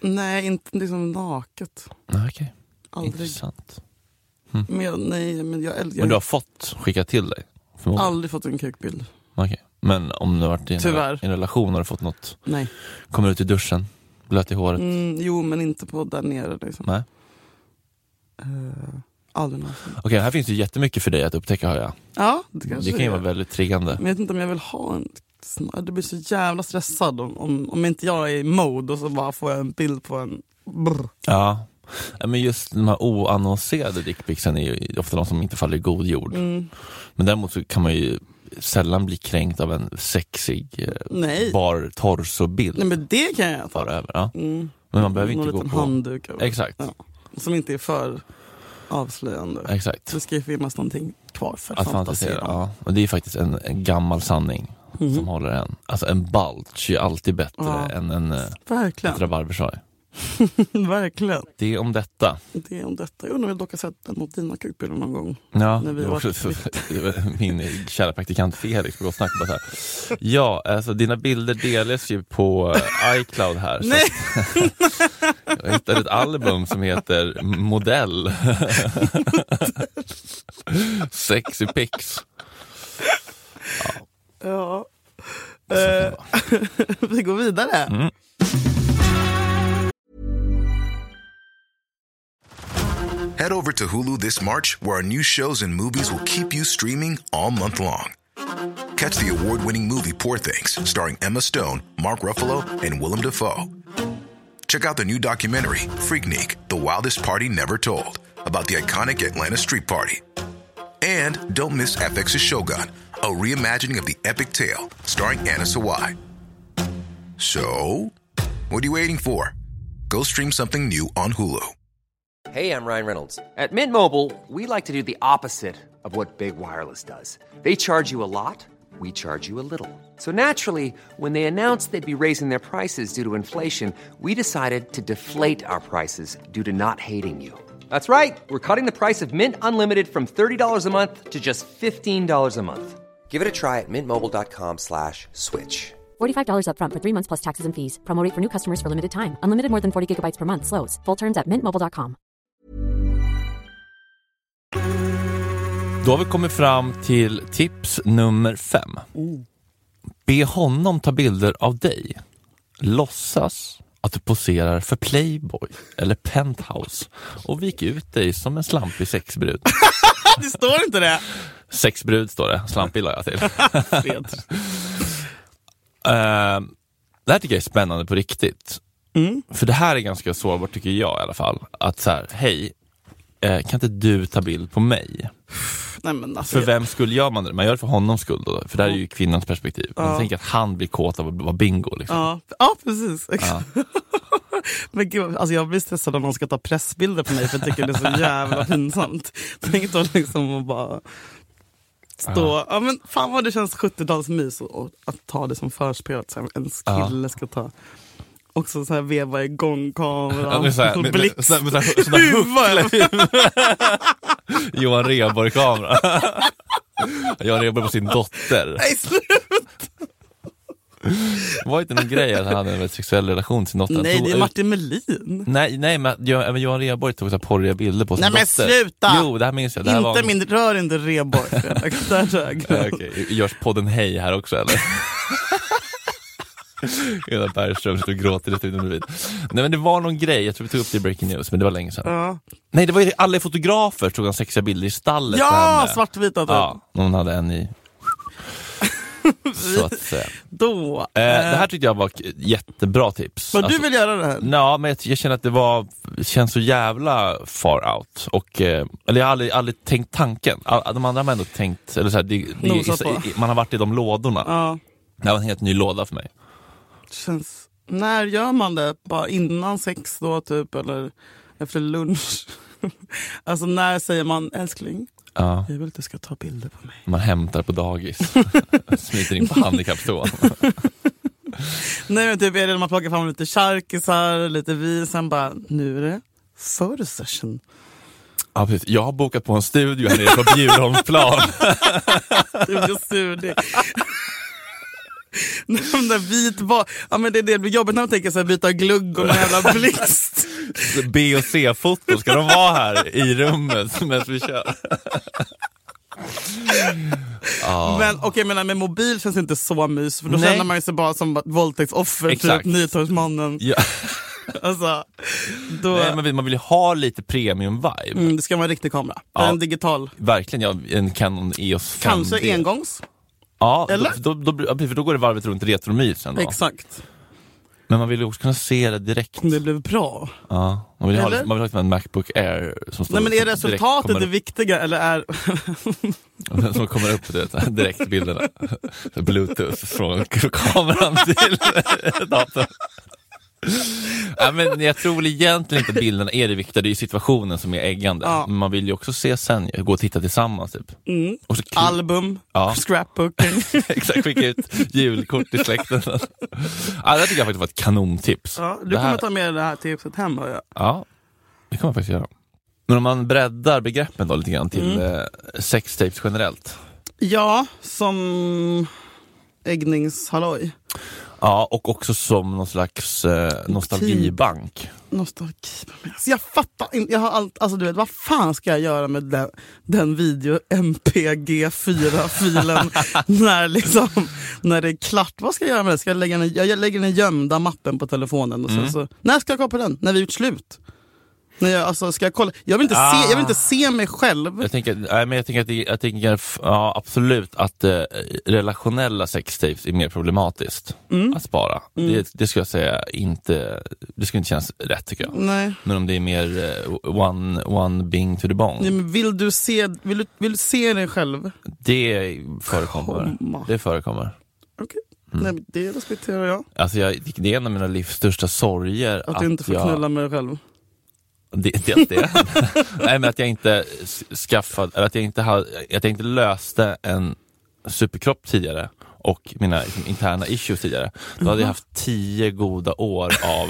Speaker 2: nej, inte liksom naket.
Speaker 1: Ah, Okej,
Speaker 2: Aldrig.
Speaker 1: intressant.
Speaker 2: Men jag, nej, men jag, jag,
Speaker 1: Men du har fått skicka till dig? Förmodligen.
Speaker 2: aldrig fått en kukbild.
Speaker 1: Okej. Men om du har varit i en,
Speaker 2: Tyvärr.
Speaker 1: i en relation har du fått något,
Speaker 2: Nej.
Speaker 1: kommer ut i duschen, blöt i håret?
Speaker 2: Mm, jo, men inte på där nere. Liksom.
Speaker 1: Nej.
Speaker 2: Eh, aldrig någonsin.
Speaker 1: Okej, här finns ju jättemycket för dig att upptäcka hör jag.
Speaker 2: Ja, det kanske
Speaker 1: Det kan ju
Speaker 2: är.
Speaker 1: vara väldigt triggande.
Speaker 2: Men jag vet inte om jag vill ha en snarare. Det blir så jävla stressad om, om, om inte jag är i mode och så bara får jag en bild på en... Brr.
Speaker 1: Ja. Ja, Men just de här oannonserade dickpicsen är ju ofta de som inte faller i god jord.
Speaker 2: Mm.
Speaker 1: Men däremot så kan man ju sällan bli kränkt av en sexig eh,
Speaker 2: Nej.
Speaker 1: bar torsobild.
Speaker 2: Nej, men det kan jag ta.
Speaker 1: Fara över, ja.
Speaker 2: Mm.
Speaker 1: Men man behöver
Speaker 2: Någon
Speaker 1: inte gå
Speaker 2: liten
Speaker 1: på...
Speaker 2: handduk över.
Speaker 1: Exakt,
Speaker 2: Ja. Som inte är för avslöjande.
Speaker 1: exakt.
Speaker 2: Det ska ju finnas någonting kvar för
Speaker 1: Att fantisera, ja. Och det är faktiskt en, en gammal sanning
Speaker 2: Mhm.
Speaker 1: som håller en. Alltså en balch är alltid bättre
Speaker 2: Ja.
Speaker 1: än en eh, ett
Speaker 2: Verkligen.
Speaker 1: rabarbersoaj.
Speaker 2: <laughs> Verkligen.
Speaker 1: Det är om detta.
Speaker 2: Det är om detta. Jag undrar om jag dock har sett en av dina kukbilder någon gång.
Speaker 1: Ja, <laughs>
Speaker 2: När vi
Speaker 1: det var
Speaker 2: var
Speaker 1: också- min kära praktikant Felix på Gott Snack bara så här. Ja, alltså dina bilder delas ju på eh, iCloud här. Så
Speaker 2: Nej.
Speaker 1: att <laughs> jag hittade ett album som heter
Speaker 2: <laughs>
Speaker 1: Modell. Sexy Pics.
Speaker 2: Ja. Eh, <laughs> vi går vidare.
Speaker 1: Mm.
Speaker 5: Head over to Hulu this March, where our new shows and movies will keep you streaming all month long. Catch the award winning movie Poor Things, starring Emma Stone, Mark Ruffalo, and Willem Dafoe. Check out the new documentary, Freaknik The Wildest Party Never Told, about the iconic Atlanta Street Party. And don't miss FX's Shogun, a reimagining of the epic tale, starring Anna Sawai. So, what are you waiting for? Go stream something new on Hulu.
Speaker 6: Hey, I'm Ryan Reynolds. At Mint Mobile, we like to do the opposite of what Big Wireless does. They charge you a lot, we charge you a little. So naturally, when they announced they'd be raising their prices due to inflation, we decided to deflate our prices due to not hating you. That's right. We're cutting the price of Mint Unlimited from $30 a month to just $15 a month. Give it a try at mintmobile.com slash switch.
Speaker 7: $45 upfront for three months plus taxes and fees. Promo rate for new customers for limited time. Unlimited more than 40 gigabytes per month. Slows. Full terms at mintmobile.com.
Speaker 1: Då har vi kommit fram till tips nummer fem. Be honom ta bilder av dig. Låtsas att du poserar för Playboy eller Penthouse och vik ut dig som en slampig sexbrud.
Speaker 2: Det står
Speaker 1: <laughs>
Speaker 2: inte det.
Speaker 1: Sexbrud står det, slampig la jag till.
Speaker 2: Fred.
Speaker 1: Eh, det här tycker jag är spännande på riktigt. För det här är ganska sårbart tycker jag i alla fall. Att så här, hej, eh, kan inte du ta bild på mig?
Speaker 2: Nej, men alltså,
Speaker 1: För vem skulle gör man det? Man gör det för honom skull då, för det här är ju kvinnans perspektiv. Man tänker att han blir kåt av att vara bingo. Liksom.
Speaker 2: Ja, ja precis. <laughs> men gud, alltså jag blir stressad om någon ska ta pressbilder på mig för jag tycker det
Speaker 1: <laughs>
Speaker 2: är så jävla pinsamt. Tänk då liksom att bara stå... Ja, men fan vad det känns 70-talsmys och- och att ta det som förspel. Att så här, en kille ska ta... Också så här veva igång
Speaker 1: Ja,
Speaker 2: kameran
Speaker 1: men så här,
Speaker 2: och
Speaker 1: med- med-
Speaker 2: blixt.
Speaker 1: så här- med så här- sån här huckla- Johan Rheborg-kamera. <laughs> Johan Rheborg på sin dotter.
Speaker 2: Nej, sluta!
Speaker 1: Var inte någon grej att han hade en väldigt sexuell relation till sin dotter? Han
Speaker 2: Nej,
Speaker 1: tog
Speaker 2: det är
Speaker 1: ut-
Speaker 2: Martin Melin.
Speaker 1: Nej, nej men, jag, även Johan Rheborg tog så här porriga bilder på sin
Speaker 2: Nej, men
Speaker 1: dotter.
Speaker 2: sluta!
Speaker 1: Jo, det här minns jag. Det här var
Speaker 2: Inte
Speaker 1: en-
Speaker 2: min, rör inte Rheborg.
Speaker 1: <laughs>
Speaker 2: Fredrik. Där rör
Speaker 1: Eh,
Speaker 2: jag gränsen.
Speaker 1: Okej, görs podden Hej här också
Speaker 2: <laughs>
Speaker 1: eller? Gunnar Bergström sitter och gråter i studion bredvid. Nej men det var någon grej, jag tror vi tog upp det i Breaking News, men det var länge sedan.
Speaker 2: Ja.
Speaker 1: Nej det var ju alla fotografer tog han sexiga bilder i stallet med
Speaker 2: Ja,
Speaker 1: henne.
Speaker 2: svartvita typ.
Speaker 1: Ja, någon hade en
Speaker 2: <laughs>
Speaker 1: i... Så att säga.
Speaker 2: Då.
Speaker 1: Eh, det här tyckte jag var k- jättebra tips.
Speaker 2: Men
Speaker 1: Alltså-
Speaker 2: du vill göra det här?
Speaker 1: Ja, men jag, jag känner att det var, känns så jävla far out. Och, eh, eller jag har aldrig, aldrig tänkt tanken. All, de andra har man ändå tänkt, eller så här, det, det,
Speaker 2: Nosat på.
Speaker 1: i- man har varit i de lådorna.
Speaker 2: Ja,
Speaker 1: Det här var en helt ny låda för mig.
Speaker 2: det känns... När gör man det? Bara innan sex då typ eller efter lunch? <laughs> alltså när säger man älskling,
Speaker 1: Ja,
Speaker 2: jag vill att du ska ta bilder på mig. <laughs>
Speaker 1: man hämtar på dagis, smiter in på handikapptoan.
Speaker 2: Nej men typ är det när man plockar fram lite charkisar, lite vin, sen bara nu är det för session. <laughs>
Speaker 1: Ja, precis. Jag har bokat på en studio här nere på Bjurholmsplan.
Speaker 2: <laughs> Studiosudie. De där vit ba- ja, men det, är det det blir jobbigt när man tänker sig byta glugg och någon jävla blixt.
Speaker 1: B och C-foto ska de vara här i rummet medan vi kör.
Speaker 2: Men okej, jag menar med mobil känns det inte så mys för då
Speaker 1: Nej.
Speaker 2: känner man ju sig bara som våldtäktsoffer,
Speaker 1: Exakt.
Speaker 2: typ Nytorgsmannen.
Speaker 1: Ja.
Speaker 2: Alltså, då,
Speaker 1: Nej, men vi- man vill ju ha lite premium-vibe.
Speaker 2: mm, det ska vara en riktig kamera.
Speaker 1: Ja.
Speaker 2: En digital.
Speaker 1: Verkligen, ja, en Canon E EOS 5D.
Speaker 2: Kanske engångs.
Speaker 1: Ja,
Speaker 2: Eller?
Speaker 1: Då, då, då, ja, precis, för då går det varvet runt retromys sen då.
Speaker 2: Exakt.
Speaker 1: Men man vill ju också kunna se det direkt.
Speaker 2: Det blev bra.
Speaker 1: Ja, man vill ju ha,
Speaker 2: Eller?
Speaker 1: man vill ha liksom en Macbook Air som, står,
Speaker 2: Nej, men är
Speaker 1: som direkt
Speaker 2: resultatet
Speaker 1: kommer
Speaker 2: det
Speaker 1: upp-
Speaker 2: viktiga eller är...
Speaker 1: som kommer upp <laughs> du vet, direkt i bilderna. Bluetooth från <laughs> kameran till <laughs> datorn. Nej, men jag tror väl egentligen inte att bilderna är det viktiga, det är ju situationen som är äggande.
Speaker 2: Ja. Mm.
Speaker 1: Men man vill ju också se sen, gå och titta tillsammans typ. Och så kli-
Speaker 2: Album,
Speaker 1: Ja.
Speaker 2: scrapbooking.
Speaker 1: <laughs> Exakt, skicka ut julkort till
Speaker 2: <laughs>
Speaker 1: släkten. ja, det här tycker jag faktiskt var ett kanontips.
Speaker 2: Ja, du
Speaker 1: det
Speaker 2: kommer
Speaker 1: här,
Speaker 2: ta med det här tipset hem hör jag.
Speaker 1: ja, det kan man faktiskt göra. Men om man breddar begreppen då lite grann till eh, sextapes generellt.
Speaker 2: Ja, som äggningshalloj.
Speaker 1: Ja, och också som någon slags eh, nostalgibank.
Speaker 2: Nostalgi. Alltså, jag fattar inte. Jag har allt, alltså, du vet, vad fan ska jag göra med den, den video MPG4-filen när, liksom, när det är klart? Vad ska jag göra med det? Ska jag, lägga den, jag lägger den i gömda mappen på telefonen. Och sen, så, när ska jag kolla på den? När vi gjort slut? När jag, alltså, ska jag, kolla? Jag, vill inte se, jag vill inte se mig själv.
Speaker 1: Jag tänker, nej, men jag tänker, att, det, jag tänker f- ja, absolut att eh, relationella sextapes är mer problematiskt att spara. Det, det skulle jag säga inte, det skulle inte kännas rätt tycker jag.
Speaker 2: Nej.
Speaker 1: Men om det är mer eh, one, one bing to the bong.
Speaker 2: Nej, men vill, du se, vill, du, vill du se dig själv?
Speaker 1: Det förekommer.
Speaker 2: Komma.
Speaker 1: Det förekommer.
Speaker 2: Okej, Nej, men det respekterar jag.
Speaker 1: Alltså jag, det är en av mina livs största sorger.
Speaker 2: Att, du inte får
Speaker 1: jag,
Speaker 2: knulla med dig själv.
Speaker 1: Det, det, det. <laughs> Nej, men att jag inte s- skaffade, eller att jag inte, hade, att jag inte löste en superkropp tidigare och mina liksom, interna issues tidigare. Då
Speaker 2: Mhm.
Speaker 1: hade jag haft tio goda år av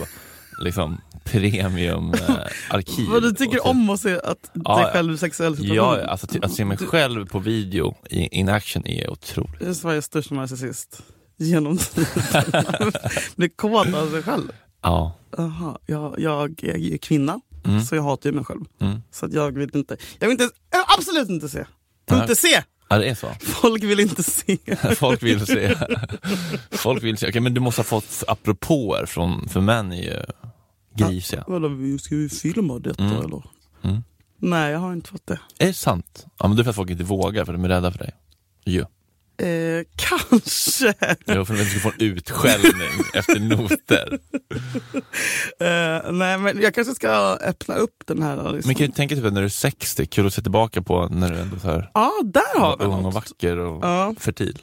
Speaker 1: liksom, premiumarkiv. Eh, arkiv
Speaker 2: Vad du
Speaker 1: och
Speaker 2: tycker
Speaker 1: typ-
Speaker 2: om att se att dig
Speaker 1: Ja, ja.
Speaker 2: själv i sexuell situation?
Speaker 1: Ja, alltså, ty- att se mig själv på video i, in action är otroligt.
Speaker 2: Du är Sveriges största narcissist. Genom
Speaker 1: <laughs>
Speaker 2: tiden. Blir kåt av sig själv.
Speaker 1: Ja.
Speaker 2: Aha, jag, jag är ju kvinna,
Speaker 1: Mm.
Speaker 2: så jag hatar ju mig själv. Så att jag vill inte, jag vill inte, jag vill absolut inte se. Jag vill
Speaker 1: Nej.
Speaker 2: inte se!
Speaker 1: ja, det är så.
Speaker 2: Folk vill inte se.
Speaker 1: Folk vill se. Folk vill se. Okej, men du måste ha fått apropåer från, för män är ju grisiga.
Speaker 2: <laughs> Vadå, vi- ska vi filma detta eller?
Speaker 1: Mm.
Speaker 2: Nej, jag har inte fått det.
Speaker 1: Är det sant? Ja, men det är för att folk inte vågar, för de är rädda för dig. Jo.
Speaker 2: Eh, <laughs> kanske.
Speaker 1: Jo, för att de inte ska få en
Speaker 2: <laughs>
Speaker 1: utskällning efter noter.
Speaker 2: Eh, nej, men jag kanske ska öppna upp den här. Liksom.
Speaker 1: Men kan du tänka typ när du är 60, kul att se tillbaka på när du ändå så här,
Speaker 2: Ja, där har
Speaker 1: var
Speaker 2: vi
Speaker 1: ung och
Speaker 2: något.
Speaker 1: vacker och
Speaker 2: Ja.
Speaker 1: fertil.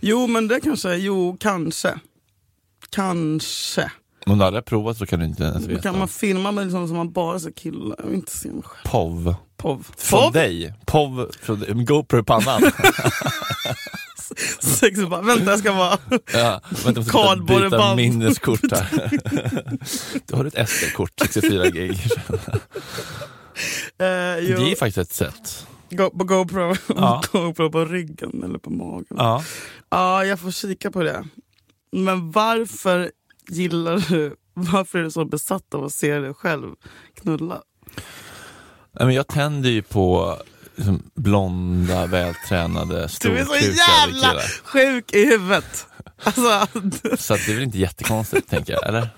Speaker 2: Jo, men det kanske, jo, kanske. Kanske.
Speaker 1: Om du aldrig har provat så kan du inte ens
Speaker 2: Då
Speaker 1: veta.
Speaker 2: kan man filma mig liksom som man bara ser killar och inte ser mig själv.
Speaker 1: POV.
Speaker 2: POV.
Speaker 1: Från
Speaker 2: POV?
Speaker 1: dig. POV från en GoPro i pannan.
Speaker 2: Sex och bara, vänta jag ska vara... <laughs>
Speaker 1: Ja, vänta, jag måste byta, byta
Speaker 2: Kardborreband.
Speaker 1: minneskort
Speaker 2: <laughs>
Speaker 1: här. Du har ett SD-kort, 64 gig.
Speaker 2: Eh, jo,
Speaker 1: Det är faktiskt ett sätt.
Speaker 2: go, på GoPro. <laughs>
Speaker 1: Ja.
Speaker 2: GoPro på ryggen eller på magen. Ja,
Speaker 1: Ja.
Speaker 2: jag får kika på det. Men varför gillar du, varför är du så besatt av att se dig själv knulla?
Speaker 1: Nej, men jag tänder ju på liksom, blonda, vältränade,
Speaker 2: Du är så
Speaker 1: storkukade
Speaker 2: jävla
Speaker 1: killar.
Speaker 2: sjuk i huvudet! Alltså,
Speaker 1: Så att det är väl inte jättekonstigt, tänker jag. Eller?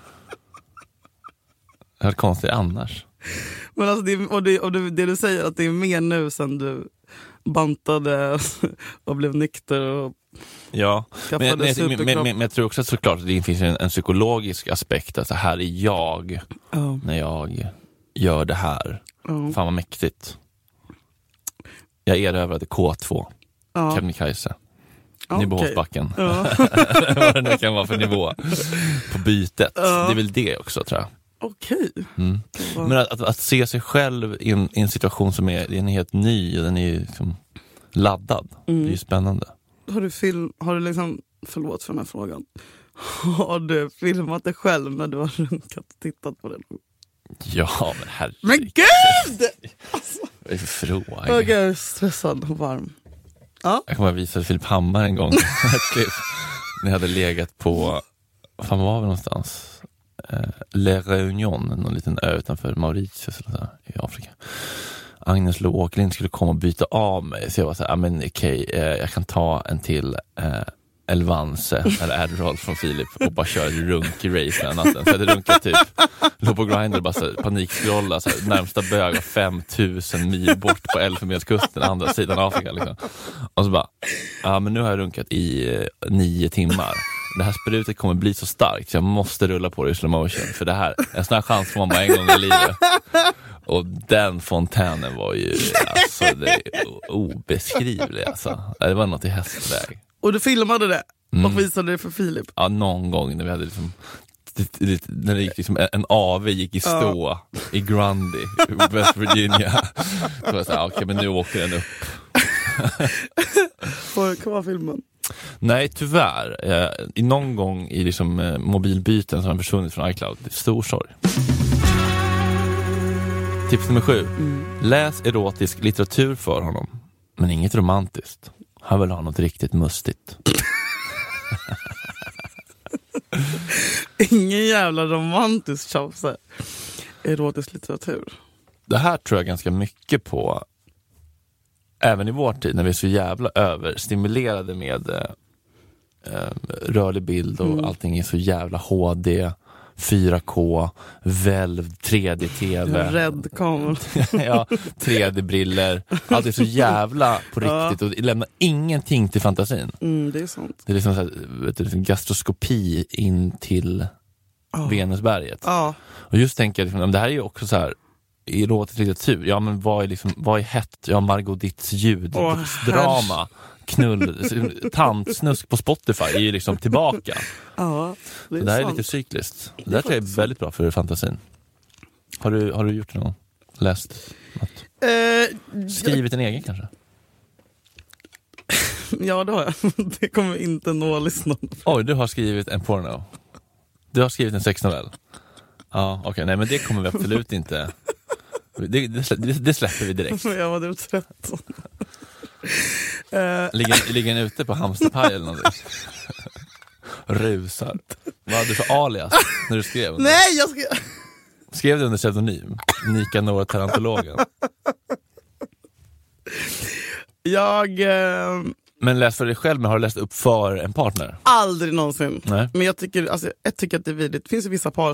Speaker 1: Det är konstigt annars.
Speaker 2: Men alltså det, och det, och det, det du säger, att det är mer nu sen du bantade <laughs> och blev nykter. Och,
Speaker 1: Ja, men, jag-
Speaker 2: Skaffade
Speaker 1: men, jag- men, men,
Speaker 2: superkropp.
Speaker 1: men jag tror också att såklart att det finns en, en psykologisk aspekt. Att så här är jag när jag gör det här.
Speaker 2: Ja.
Speaker 1: Fan vad mäktigt. Jag erövrade K2,
Speaker 2: Ja.
Speaker 1: Kebnekaise,
Speaker 2: Ja,
Speaker 1: Nyboholmsbacken.
Speaker 2: Ja, <laughs>
Speaker 1: Vad <laughs> det nu kan vara för nivå på bytet.
Speaker 2: Ja.
Speaker 1: Det är väl det också tror jag. Mm.
Speaker 2: Okej. Ja.
Speaker 1: Men att, att, att se sig själv i en, i en situation som är, den är helt
Speaker 2: Mm.
Speaker 1: ny och den är ju liksom laddad. Det är ju spännande.
Speaker 2: Har du film, har du liksom förlåt för den här frågan. <laughs> Har du filmat dig själv när du har runkat och tittat på den?
Speaker 1: Ja, men herregud.
Speaker 2: Men gud! Alltså,
Speaker 1: Vad är det för fråga?
Speaker 2: åh, gud, jag är stressad och varm.
Speaker 1: Jag kommer ihåg att jag visade Filip Hammar en gång ett klipp. När jag hade legat på, vad fan var vi någonstans? Eh, Le Réunion, någon liten ö utanför Mauritius eller så här, i Afrika. Agnes Lo Åkerlind skulle komma och byta av mig, så jag var så här, "Ah, men okej, eh, jag kan ta en till eh, Elvanse eller Adderall från Filip och bara köra ett runk-race den här natten. Så jag hade runkat typ, låg på Grindr och bara så här panikscrollade, så här, närmsta bög var 5000 mil bort på Elfenbenskusten, andra sidan Afrika. Liksom. Och så bara, ja men nu har jag runkat i eh, nio timmar. Det här sprutet kommer bli så starkt så jag måste rulla på det i slow motion. För det här, en sån här chans får man bara en gång i livet. Och den fontänen var ju alltså, det är o- obeskrivlig alltså. Det var något i hästväg.
Speaker 2: Och du filmade det
Speaker 1: Mm.
Speaker 2: och visade det för Filip.
Speaker 1: Ja, någon gång när vi hade liksom det- det- när det gick liksom, en- en AV gick i stå i Grundy, i West Virginia. <laughs> Så var jag såhär, okej men nu åker den upp.
Speaker 2: Får jag kvar filmen? <laughs>
Speaker 1: Nej, tyvärr. Eh, i någon gång i liksom, eh, mobilbyten som har försvunnit från iCloud. Det är stor sorg. Tips nummer sju. Läs erotisk litteratur för honom. Men inget romantiskt. Han vill ha något riktigt mustigt.
Speaker 2: Ingen jävla romantisk tjafs. Erotisk litteratur.
Speaker 1: Det här tror jag ganska mycket på, även i vår tid när vi är så jävla överstimulerade med eh, eh, rörlig bild och allting är så jävla HD, 4K, välvd 3D-TV.
Speaker 2: Rädd kamera.
Speaker 1: <laughs> ja, 3D-briller. Allt är så jävla på riktigt och det lämnar ingenting till fantasin.
Speaker 2: Mm, det är sant.
Speaker 1: Det är liksom så här, vet du, liksom gastroskopi in till Venusberget.
Speaker 2: Ja,
Speaker 1: Och just tänker jag, liksom, men det här är ju också så här erotisk litteratur. Ja, men vad är, liksom, vad är hett? Ja, Margot Ditts
Speaker 2: Åh,
Speaker 1: ljuddrama. Knull, tantsnusk på Spotify är ju liksom tillbaka.
Speaker 2: ja <laughs>
Speaker 1: Det,
Speaker 2: det är,
Speaker 1: här är
Speaker 2: sant.
Speaker 1: lite cykliskt. Det där tror jag är väldigt bra för fantasin. Har du, har du gjort det någon gång? Läst något?
Speaker 2: Eh,
Speaker 1: Skrivit en egen kanske?
Speaker 2: ja, det har jag. <laughs> Det kommer inte nå lyssnarna.
Speaker 1: Oj, du har skrivit en porno. Du har skrivit en sexnovell. Ja, okej. Nej, men det kommer vi absolut inte... Det, det, slä- det, det släpper vi direkt.
Speaker 2: Jag var typ 13. Eh,
Speaker 1: Ligger, ligger den ute på Hamsterpaj eller någonting? Rusar. Vad hade du för alias när du skrev? den?
Speaker 2: nej, jag ska...
Speaker 1: Skrev du under pseudonym? Nikanor Tarantologen.
Speaker 2: Jag... Eh,
Speaker 1: Men läs för dig själv, men har du läst upp för en partner?
Speaker 2: aldrig någonsin.
Speaker 1: Nej.
Speaker 2: Men jag tycker, alltså, jag tycker att det är vidrigt. Det finns ju vissa par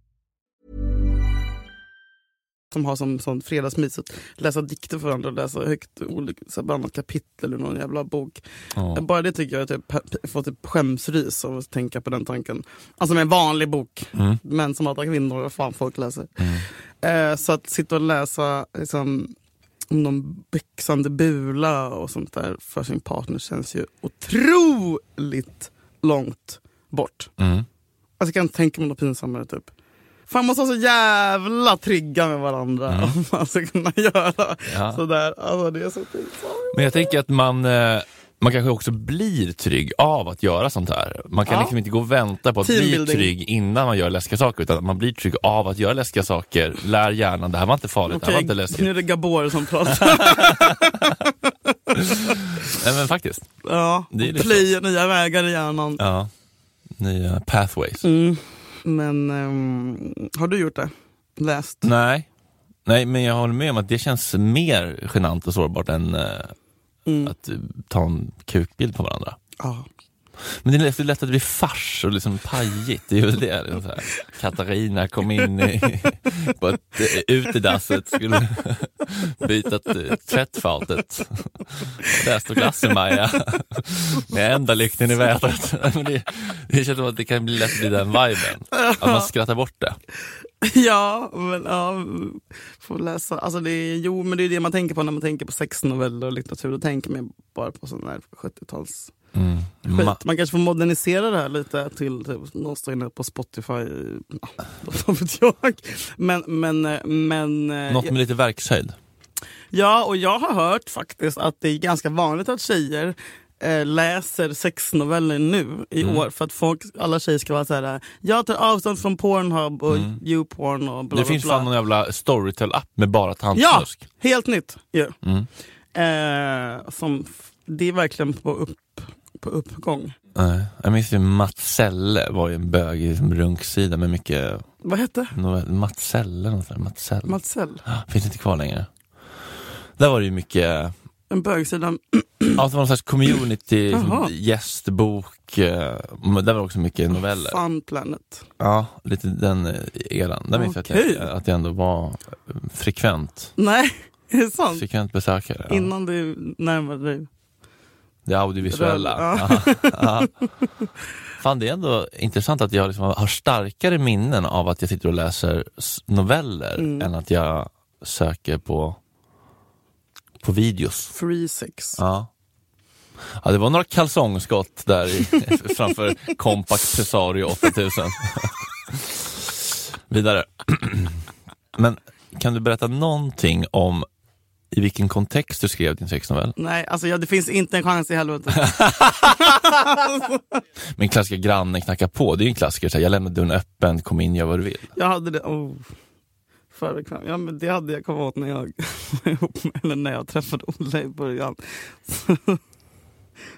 Speaker 2: som har som, som fredagsmys att läsa dikter för varandra och läsa högt olika, så här, bland annat kapitel ur någon jävla bok. Eh,
Speaker 1: Ja.
Speaker 2: Bara det tycker jag är typ, jag får typ skämsrys av att tänka på den tanken. Alltså med en vanlig bok,
Speaker 1: Mm.
Speaker 2: män som hatar kvinnor, vad fan folk läser.
Speaker 1: Mm.
Speaker 2: Eh, så att sitta och läsa liksom, om någon växande bula och sånt där för sin partner känns ju otroligt långt bort.
Speaker 1: Mm.
Speaker 2: Alltså jag kan inte tänka mig något pinsammare typ. Fan måste vara så jävla trygga med varandra om <laughs> man ska kunna
Speaker 1: Mm.
Speaker 2: göra
Speaker 1: Ja.
Speaker 2: sådär. Alltså det är så pinsamt.
Speaker 1: Men jag tänker att man, eh, man kanske också blir trygg av att göra sånt här. Man kan
Speaker 2: Ja.
Speaker 1: liksom inte gå och vänta på att bli
Speaker 2: Teambuilding.
Speaker 1: trygg innan man gör läskiga saker, utan man blir trygg av att göra läskiga saker. Lär hjärnan, det här var inte farligt, det här var
Speaker 2: Okej,
Speaker 1: inte
Speaker 2: nu
Speaker 1: läskigt.
Speaker 2: är det
Speaker 1: <laughs>
Speaker 2: Gabor som pratar.
Speaker 1: Nej men faktiskt.
Speaker 2: ja,
Speaker 1: Det är
Speaker 2: och
Speaker 1: lite
Speaker 2: plöjer nya vägar i hjärnan.
Speaker 1: Ja. Nya pathways.
Speaker 2: Mm. Men ehm, har du gjort det? Läst?
Speaker 1: Nej. Nej, men jag håller med om att det känns mer genant och sårbart än eh,
Speaker 2: Mm.
Speaker 1: att eh, ta en kukbild på varandra.
Speaker 2: Ja. <laughs>
Speaker 1: Men det är lätt- det är lätt att det blir fars och liksom pajigt. Det är väl det. Liksom så här. Katarina kom in i, på ett eh, utedasset. Skulle, bytat eh, tvättfatet. Där står glassen Maja. Med enda lykten i vädret. Men det, det känns som att det kan bli lätt bli den viben. Att man skrattar bort det.
Speaker 2: Ja, men ja, får läsa. Alltså det är, jo, men det är det man tänker på när man tänker på sexnoveller och litteratur. Då tänker man bara på sån här 70-tals...
Speaker 1: Ma-
Speaker 2: Man kanske får modernisera det här lite till typ, någon står inne på Spotify. Ja, <laughs> vad vet jag. Men, men, eh, men... eh,
Speaker 1: Något med lite verkshöjd.
Speaker 2: Ja, och jag har hört faktiskt att det är ganska vanligt att tjejer eh, läser sexnoveller nu i
Speaker 1: Mm.
Speaker 2: år för att folk, alla tjejer ska vara så här. jag tar avstånd från Pornhub och YouPorn och bla
Speaker 1: Mm. Det
Speaker 2: bla
Speaker 1: finns
Speaker 2: bla.
Speaker 1: fan någon jävla Storytel-app med bara
Speaker 2: Ja,
Speaker 1: tantsnusk.
Speaker 2: helt nytt ju.
Speaker 1: Mm.
Speaker 2: Eh, som, f- det är verkligen på, upp, på uppgång.
Speaker 1: Nej, Jag minns ju Mats Selle var ju en bög i en runksida med mycket
Speaker 2: Vad hette
Speaker 1: novell- Mats Selle, något sånt där. Mats Selle.
Speaker 2: Matsell?
Speaker 1: Ah, Finns inte kvar längre. Där var det ju mycket,
Speaker 2: En bögsida.
Speaker 1: ja det var någon slags community, liksom,
Speaker 2: Jaha.
Speaker 1: gästbok, eh, men där var också mycket noveller.
Speaker 2: Fun Planet.
Speaker 1: Ja, lite den eh, eran. Där minns jag att
Speaker 2: Okej.
Speaker 1: jag att jag ändå var eh, frekvent,
Speaker 2: Nej, <laughs> är det sant?
Speaker 1: frekvent besökare. Ja.
Speaker 2: Innan du närmade dig.
Speaker 1: Det audiovisuella.
Speaker 2: <laughs> Röd-
Speaker 1: Ja. Ja. Fan det är ändå intressant att jag liksom har starkare minnen av att jag sitter och läser s- noveller än att jag söker på, på videos.
Speaker 2: Free sex.
Speaker 1: Ja. ja, det var några kalsongskott där i, <laughs> framför Compact Cesario 8000. Vidare. <clears throat> Men kan du berätta någonting om i vilken kontext du skrev din sexnovell?
Speaker 2: Nej, alltså ja, det finns inte en chans i helvete.
Speaker 1: <laughs> Min klassiska granne knackar på, det är ju en klassiker. Så här, jag lämnar dörren öppen, kom in, gör vad du vill.
Speaker 2: Jag hade det, oh. Före kram. Ja, men det hade jag kommit åt när jag <laughs> var ihop med, eller när jag träffade Olle i början. <laughs>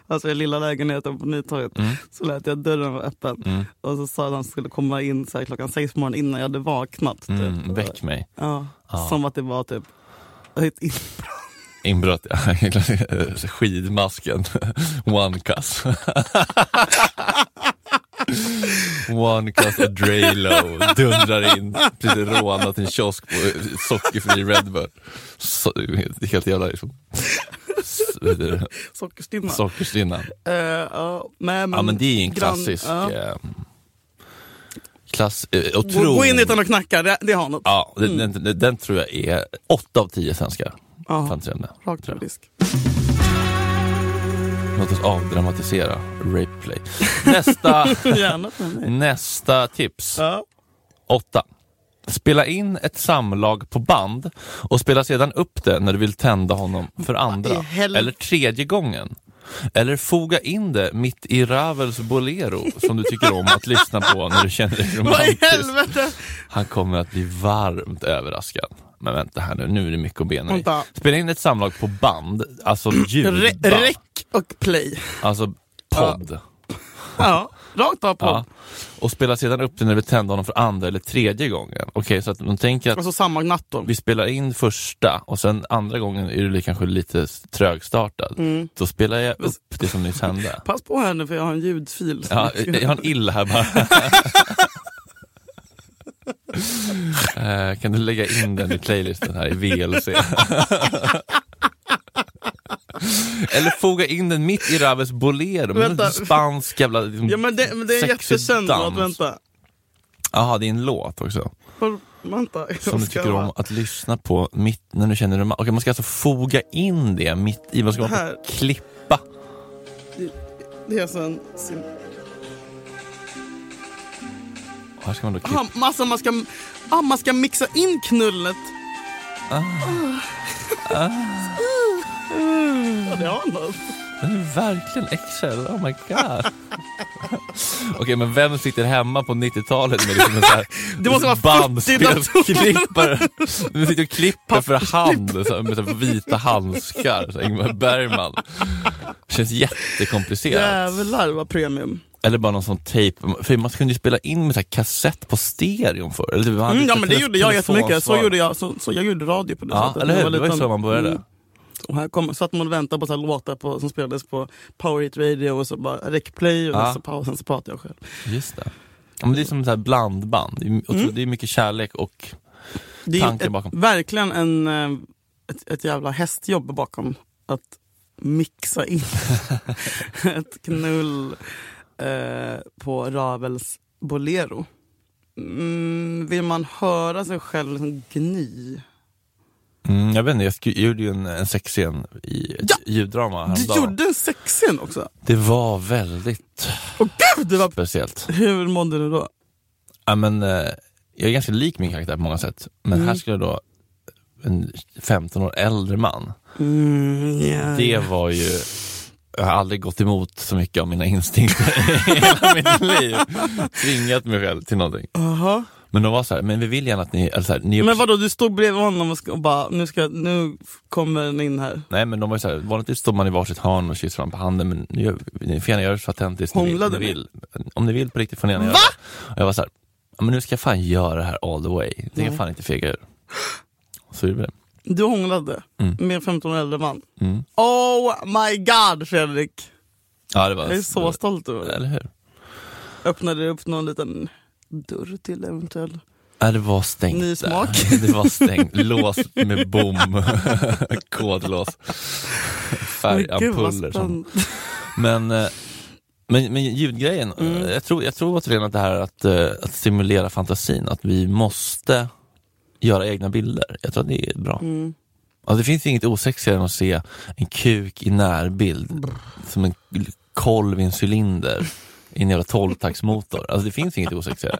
Speaker 2: alltså i lilla lägenheten på Nytorget
Speaker 1: Mm.
Speaker 2: så lät jag dörren vara öppen. Och så sa han att han skulle komma in så här, klockan sex på morgonen innan jag hade vaknat. Typ.
Speaker 1: Mm, väck mig.
Speaker 2: Ja, Som att det var typ ett in- <laughs>
Speaker 1: Inbrott, <laughs> ja. Klassiker. skidmasken. <laughs> One cuss. <laughs> One cuss och Drelo dundrar in, precis rånat en kiosk på eh, sockerfri Red Bull. Så, det är helt jävla liksom, s- vad heter det?
Speaker 2: sockerstinna.
Speaker 1: sockerstinna.
Speaker 2: Eh, ja, nej, men,
Speaker 1: Ja men det är ju en
Speaker 2: grann-
Speaker 1: klassisk,
Speaker 2: ja.
Speaker 1: eh, klass, eh, och
Speaker 2: Gå, gå in
Speaker 1: tron-
Speaker 2: utan att knacka, det, det har något.
Speaker 1: Ja, den, den, den tror jag är 8 av 10 svenskar.
Speaker 2: Ja.
Speaker 1: Fantisemne.
Speaker 2: Rakt över disk.
Speaker 1: Låt oss avdramatisera rape play. Nästa, <laughs>
Speaker 2: Gärna för mig.
Speaker 1: nästa tips.
Speaker 2: Ja.
Speaker 1: 8. Spela in ett samlag på band och spela sedan upp det när du vill tända honom för
Speaker 2: i
Speaker 1: andra
Speaker 2: helvete?
Speaker 1: eller tredje gången. Eller foga in det mitt i Ravels bolero som du tycker om att lyssna på när du känner dig
Speaker 2: <laughs> Vad i
Speaker 1: romantisk.
Speaker 2: helvete!
Speaker 1: Han kommer att bli varmt överraskad. Men vänta här nu, nu är det mycket att bena i.
Speaker 2: Vänta.
Speaker 1: Spela in ett samlag på band, alltså
Speaker 2: Re-
Speaker 1: ljudband,
Speaker 2: Räck och play.
Speaker 1: alltså podd.
Speaker 2: Ja, rakt av på.
Speaker 1: Ja. Och spela sedan upp det när vi tänder honom för andra eller tredje gången. Okej, så att de tänker att
Speaker 2: Alltså samma natt då.
Speaker 1: vi spelar in första och sen andra gången är du li- kanske lite s- trögstartad.
Speaker 2: Mm.
Speaker 1: Då spelar jag upp det som nyss
Speaker 2: <laughs>
Speaker 1: hände.
Speaker 2: Pass på här nu för jag har en ljudfil. som
Speaker 1: Ja, eh,
Speaker 2: jag ska-
Speaker 1: jag har en ill här
Speaker 2: <laughs>
Speaker 1: bara. Eh, kan du lägga in den i playlisten här i VLC? <laughs> Eller foga in den mitt i Raves Bolero, men
Speaker 2: Vänta.
Speaker 1: en spansk jävla liksom,
Speaker 2: ja men det, men det är en
Speaker 1: sexig
Speaker 2: jättekänd låt,
Speaker 1: dans.
Speaker 2: vänta.
Speaker 1: Jaha, det är en låt också.
Speaker 2: Var- Vänta, jag
Speaker 1: Som du
Speaker 2: ska
Speaker 1: tycker om
Speaker 2: bara-
Speaker 1: att lyssna på mitt när du känner dig Okej, man ska alltså foga in det mitt i, man ska
Speaker 2: Här.
Speaker 1: bara klippa.
Speaker 2: Det är alltså en... sim-
Speaker 1: Och Här ska man då klippa.
Speaker 2: Ah, alltså man ska, ah, man ska mixa in knullet.
Speaker 1: Ah.
Speaker 2: Ah. <laughs> Ja, det har något.
Speaker 1: Den är verkligen XL, oh my god. <laughs> Okej, men vem sitter hemma på 90-talet med liksom en sån här
Speaker 2: <laughs> Det måste vara 40
Speaker 1: bandspelsklippare? <laughs> Du sitter och klipper för hand så här, med så här vita handskar, så här Ingmar Bergman. Känns jättekomplicerat.
Speaker 2: Jävlar vad premium.
Speaker 1: Eller bara någon sån tejp, för man kunde ju spela in med så här kassett på stereon förr. Eller typ, man hade
Speaker 2: Mm, ja
Speaker 1: lite
Speaker 2: men det gjorde jag
Speaker 1: telefonsvar.
Speaker 2: jättemycket. Så gjorde jag, så, så jag gjorde radio på det
Speaker 1: Ja,
Speaker 2: sättet.
Speaker 1: eller
Speaker 2: Jag
Speaker 1: hur? Det var ju
Speaker 2: liten.
Speaker 1: så man började.
Speaker 2: Mm. Och här kom, satt man och väntade på så här låtar på, som spelades på Power Hit Radio och så bara rekplay och
Speaker 1: Ja.
Speaker 2: så pausen så pratade jag själv.
Speaker 1: Just det. Ja, men det är som så här
Speaker 2: Mm.
Speaker 1: blandband. Det är, och så- det är mycket kärlek och
Speaker 2: Det är ju
Speaker 1: Tanken
Speaker 2: ett,
Speaker 1: bakom.
Speaker 2: verkligen en eh, ett, ett jävla hästjobb bakom att mixa in <laughs> ett knull eh, på Ravels Bolero. Mm, vill man höra sig själv liksom gny?
Speaker 1: Mm, jag vet inte, jag sk- gjorde ju en, en sexscen i ett
Speaker 2: Ja!
Speaker 1: ljuddrama
Speaker 2: Du
Speaker 1: häromdagen.
Speaker 2: gjorde en sexscen också!
Speaker 1: Det var väldigt
Speaker 2: Åh gud! Det var...
Speaker 1: speciellt.
Speaker 2: Hur mådde du då?
Speaker 1: Ja, men, eh, jag är ganska lik min karaktär på många sätt, men
Speaker 2: Mm.
Speaker 1: här skulle då en 15 år äldre man.
Speaker 2: Mm, yeah.
Speaker 1: Det var ju, jag har aldrig gått emot så mycket av mina instinkter <laughs> i hela mitt liv. Tvingat mig själv till någonting.
Speaker 2: Aha.
Speaker 1: Men de var så här, men vi vill gärna att ni, eller så här, ni är
Speaker 2: Men vadå, du stod bredvid honom och, ska, och bara, nu, ska, nu kommer den in här.
Speaker 1: Nej men de var ju såhär, vanligtvis står man i varsitt hörn och kysser varandra på handen men ni, gör- ni får gärna göra det så autentiskt ni, vill-
Speaker 2: Hånglade
Speaker 1: ni vill. Om ni vill på riktigt får ni gärna göra det. Och jag var såhär, "Ja, men nu ska jag fan göra det här all the way. Jag tänker fan inte fega ur. Så gjorde vi det.
Speaker 2: Du hånglade
Speaker 1: Mm.
Speaker 2: med en 15 år äldre man.
Speaker 1: Mm.
Speaker 2: Oh my god Fredrik!
Speaker 1: Ja det var...
Speaker 2: Jag är så stolt över det.
Speaker 1: Alltså, Eller hur?
Speaker 2: Öppnade upp någon liten dörr till eventuell.
Speaker 1: Ja, Äh, det var stängt.
Speaker 2: Ny
Speaker 1: där.
Speaker 2: smak.
Speaker 1: <laughs> Det var stängt. Lås med bom. <laughs> Kodlås.
Speaker 2: Gud, vad
Speaker 1: Färgampuller. som-
Speaker 2: spännande.
Speaker 1: Men, eh, men, men ljudgrejen,
Speaker 2: Mm.
Speaker 1: eh, jag tror, jag tror återigen att det här att, eh, att stimulera fantasin, att vi måste göra egna bilder. Jag tror att det är bra.
Speaker 2: Mm.
Speaker 1: Alltså, det finns ju inget osexigare än att se en kuk i närbild som en l- kolv i en cylinder i en jävla tolvtaktsmotor. Alltså det finns inget osexigare.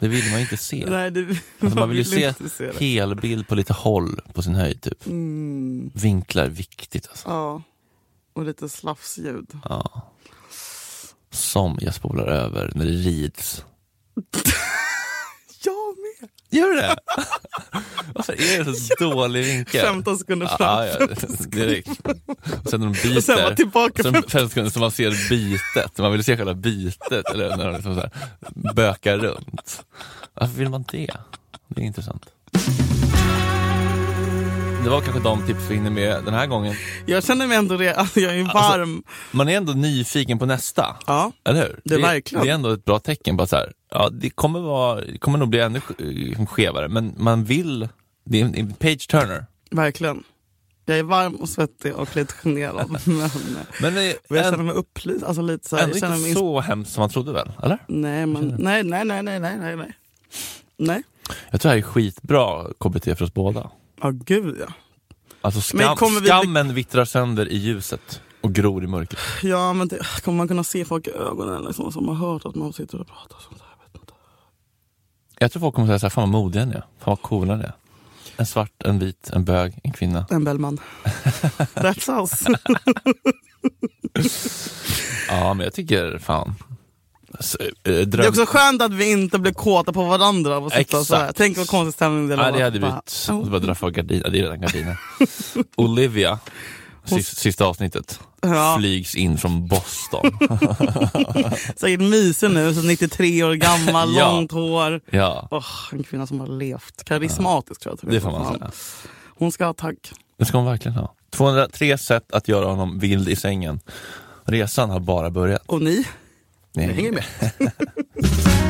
Speaker 1: Det vill man ju inte se.
Speaker 2: Nej, det, <laughs>
Speaker 1: Alltså, man vill ju se,
Speaker 2: inte se det.
Speaker 1: helbild på lite håll på sin höjd typ.
Speaker 2: Mm,
Speaker 1: Vinklar är viktigt alltså.
Speaker 2: ja, och lite slafsljud.
Speaker 1: Ja. Som jag spolar över när det rids.
Speaker 2: Jag med!
Speaker 1: Gör det? <laughs> Varför är det <laughs> så dålig vinkel?
Speaker 2: 15 sekunder fram.
Speaker 1: Ja, ja, direkt. Och sen när de biter.
Speaker 2: Och sen var tillbaka
Speaker 1: och sen
Speaker 2: 15.
Speaker 1: 15 sekunder så man ser bitet. Man vill se själva bitet, eller när de liksom så här bökar runt. Varför vill man det? Det är intressant. Det var kanske de tips vi hinner med den här gången.
Speaker 2: Jag känner mig ändå re, <laughs> alltså, jag är ju varm.
Speaker 1: Man är ändå nyfiken på nästa.
Speaker 2: ja.
Speaker 1: Eller hur?
Speaker 2: Det är verkligen.
Speaker 1: det är ändå ett bra tecken på att så här, ja, det kommer, vara, det kommer nog bli ännu sk- liksom skevare, men man vill... Det är en- en page turner.
Speaker 2: Verkligen. Jag är varm och svettig och lite generad. <laughs> men,
Speaker 1: Men det
Speaker 2: men jag
Speaker 1: är
Speaker 2: känner
Speaker 1: ändå,
Speaker 2: mig upplyst. Alltså lite så här,
Speaker 1: ändå
Speaker 2: jag känner mig
Speaker 1: inte
Speaker 2: ins-
Speaker 1: så hemskt som man trodde väl? Eller?
Speaker 2: nej, men, nej, nej, nej, nej, nej, nej, nej. Nej,
Speaker 1: Jag tror det här är skitbra KBT för oss båda.
Speaker 2: ja gud ja.
Speaker 1: Alltså
Speaker 2: Men
Speaker 1: skam,
Speaker 2: kommer vi bli-
Speaker 1: skammen vittrar sönder i ljuset och gror i mörkret.
Speaker 2: Ja men det, kommer man kunna se folk i ögonen liksom, som har hört att man sitter och pratar sånt här? Jag vet inte.
Speaker 1: Jag tror folk kommer säga så här, fan vad modiga ni är, fan vad coola ni är. En svart, en vit, en bög, en kvinna.
Speaker 2: En Bellman. <laughs> That's
Speaker 1: <laughs>
Speaker 2: us.
Speaker 1: Ja, men jag tycker fan... Alltså, eh, dröm...
Speaker 2: Det är också skönt att vi inte blev kåta på varandra av att sitta
Speaker 1: Exakt.
Speaker 2: så här. Tänk vad konstig stämning det
Speaker 1: Ja,
Speaker 2: var.
Speaker 1: det hade
Speaker 2: Bara,
Speaker 1: blivit...
Speaker 2: oh,
Speaker 1: Och så bara dra för gardiner. Ja, Det är redan
Speaker 2: <laughs>
Speaker 1: gardiner. Olivia, sista, sista avsnittet,
Speaker 2: Ja.
Speaker 1: flygs in från
Speaker 2: <laughs>
Speaker 1: Boston.
Speaker 2: Säkert mysig nu, så 93 år gammal,
Speaker 1: <laughs> Ja.
Speaker 2: långt hår.
Speaker 1: ja,
Speaker 2: Åh, en kvinna som har levt. Karismatisk tror jag till och
Speaker 1: det
Speaker 2: med.
Speaker 1: får man
Speaker 2: Fan.
Speaker 1: säga.
Speaker 2: Hon ska ha tack.
Speaker 1: Det ska hon verkligen ha. 203 sätt att göra honom vild i sängen. Resan har bara börjat.
Speaker 2: Och ni?
Speaker 1: Ni
Speaker 2: Hänger med.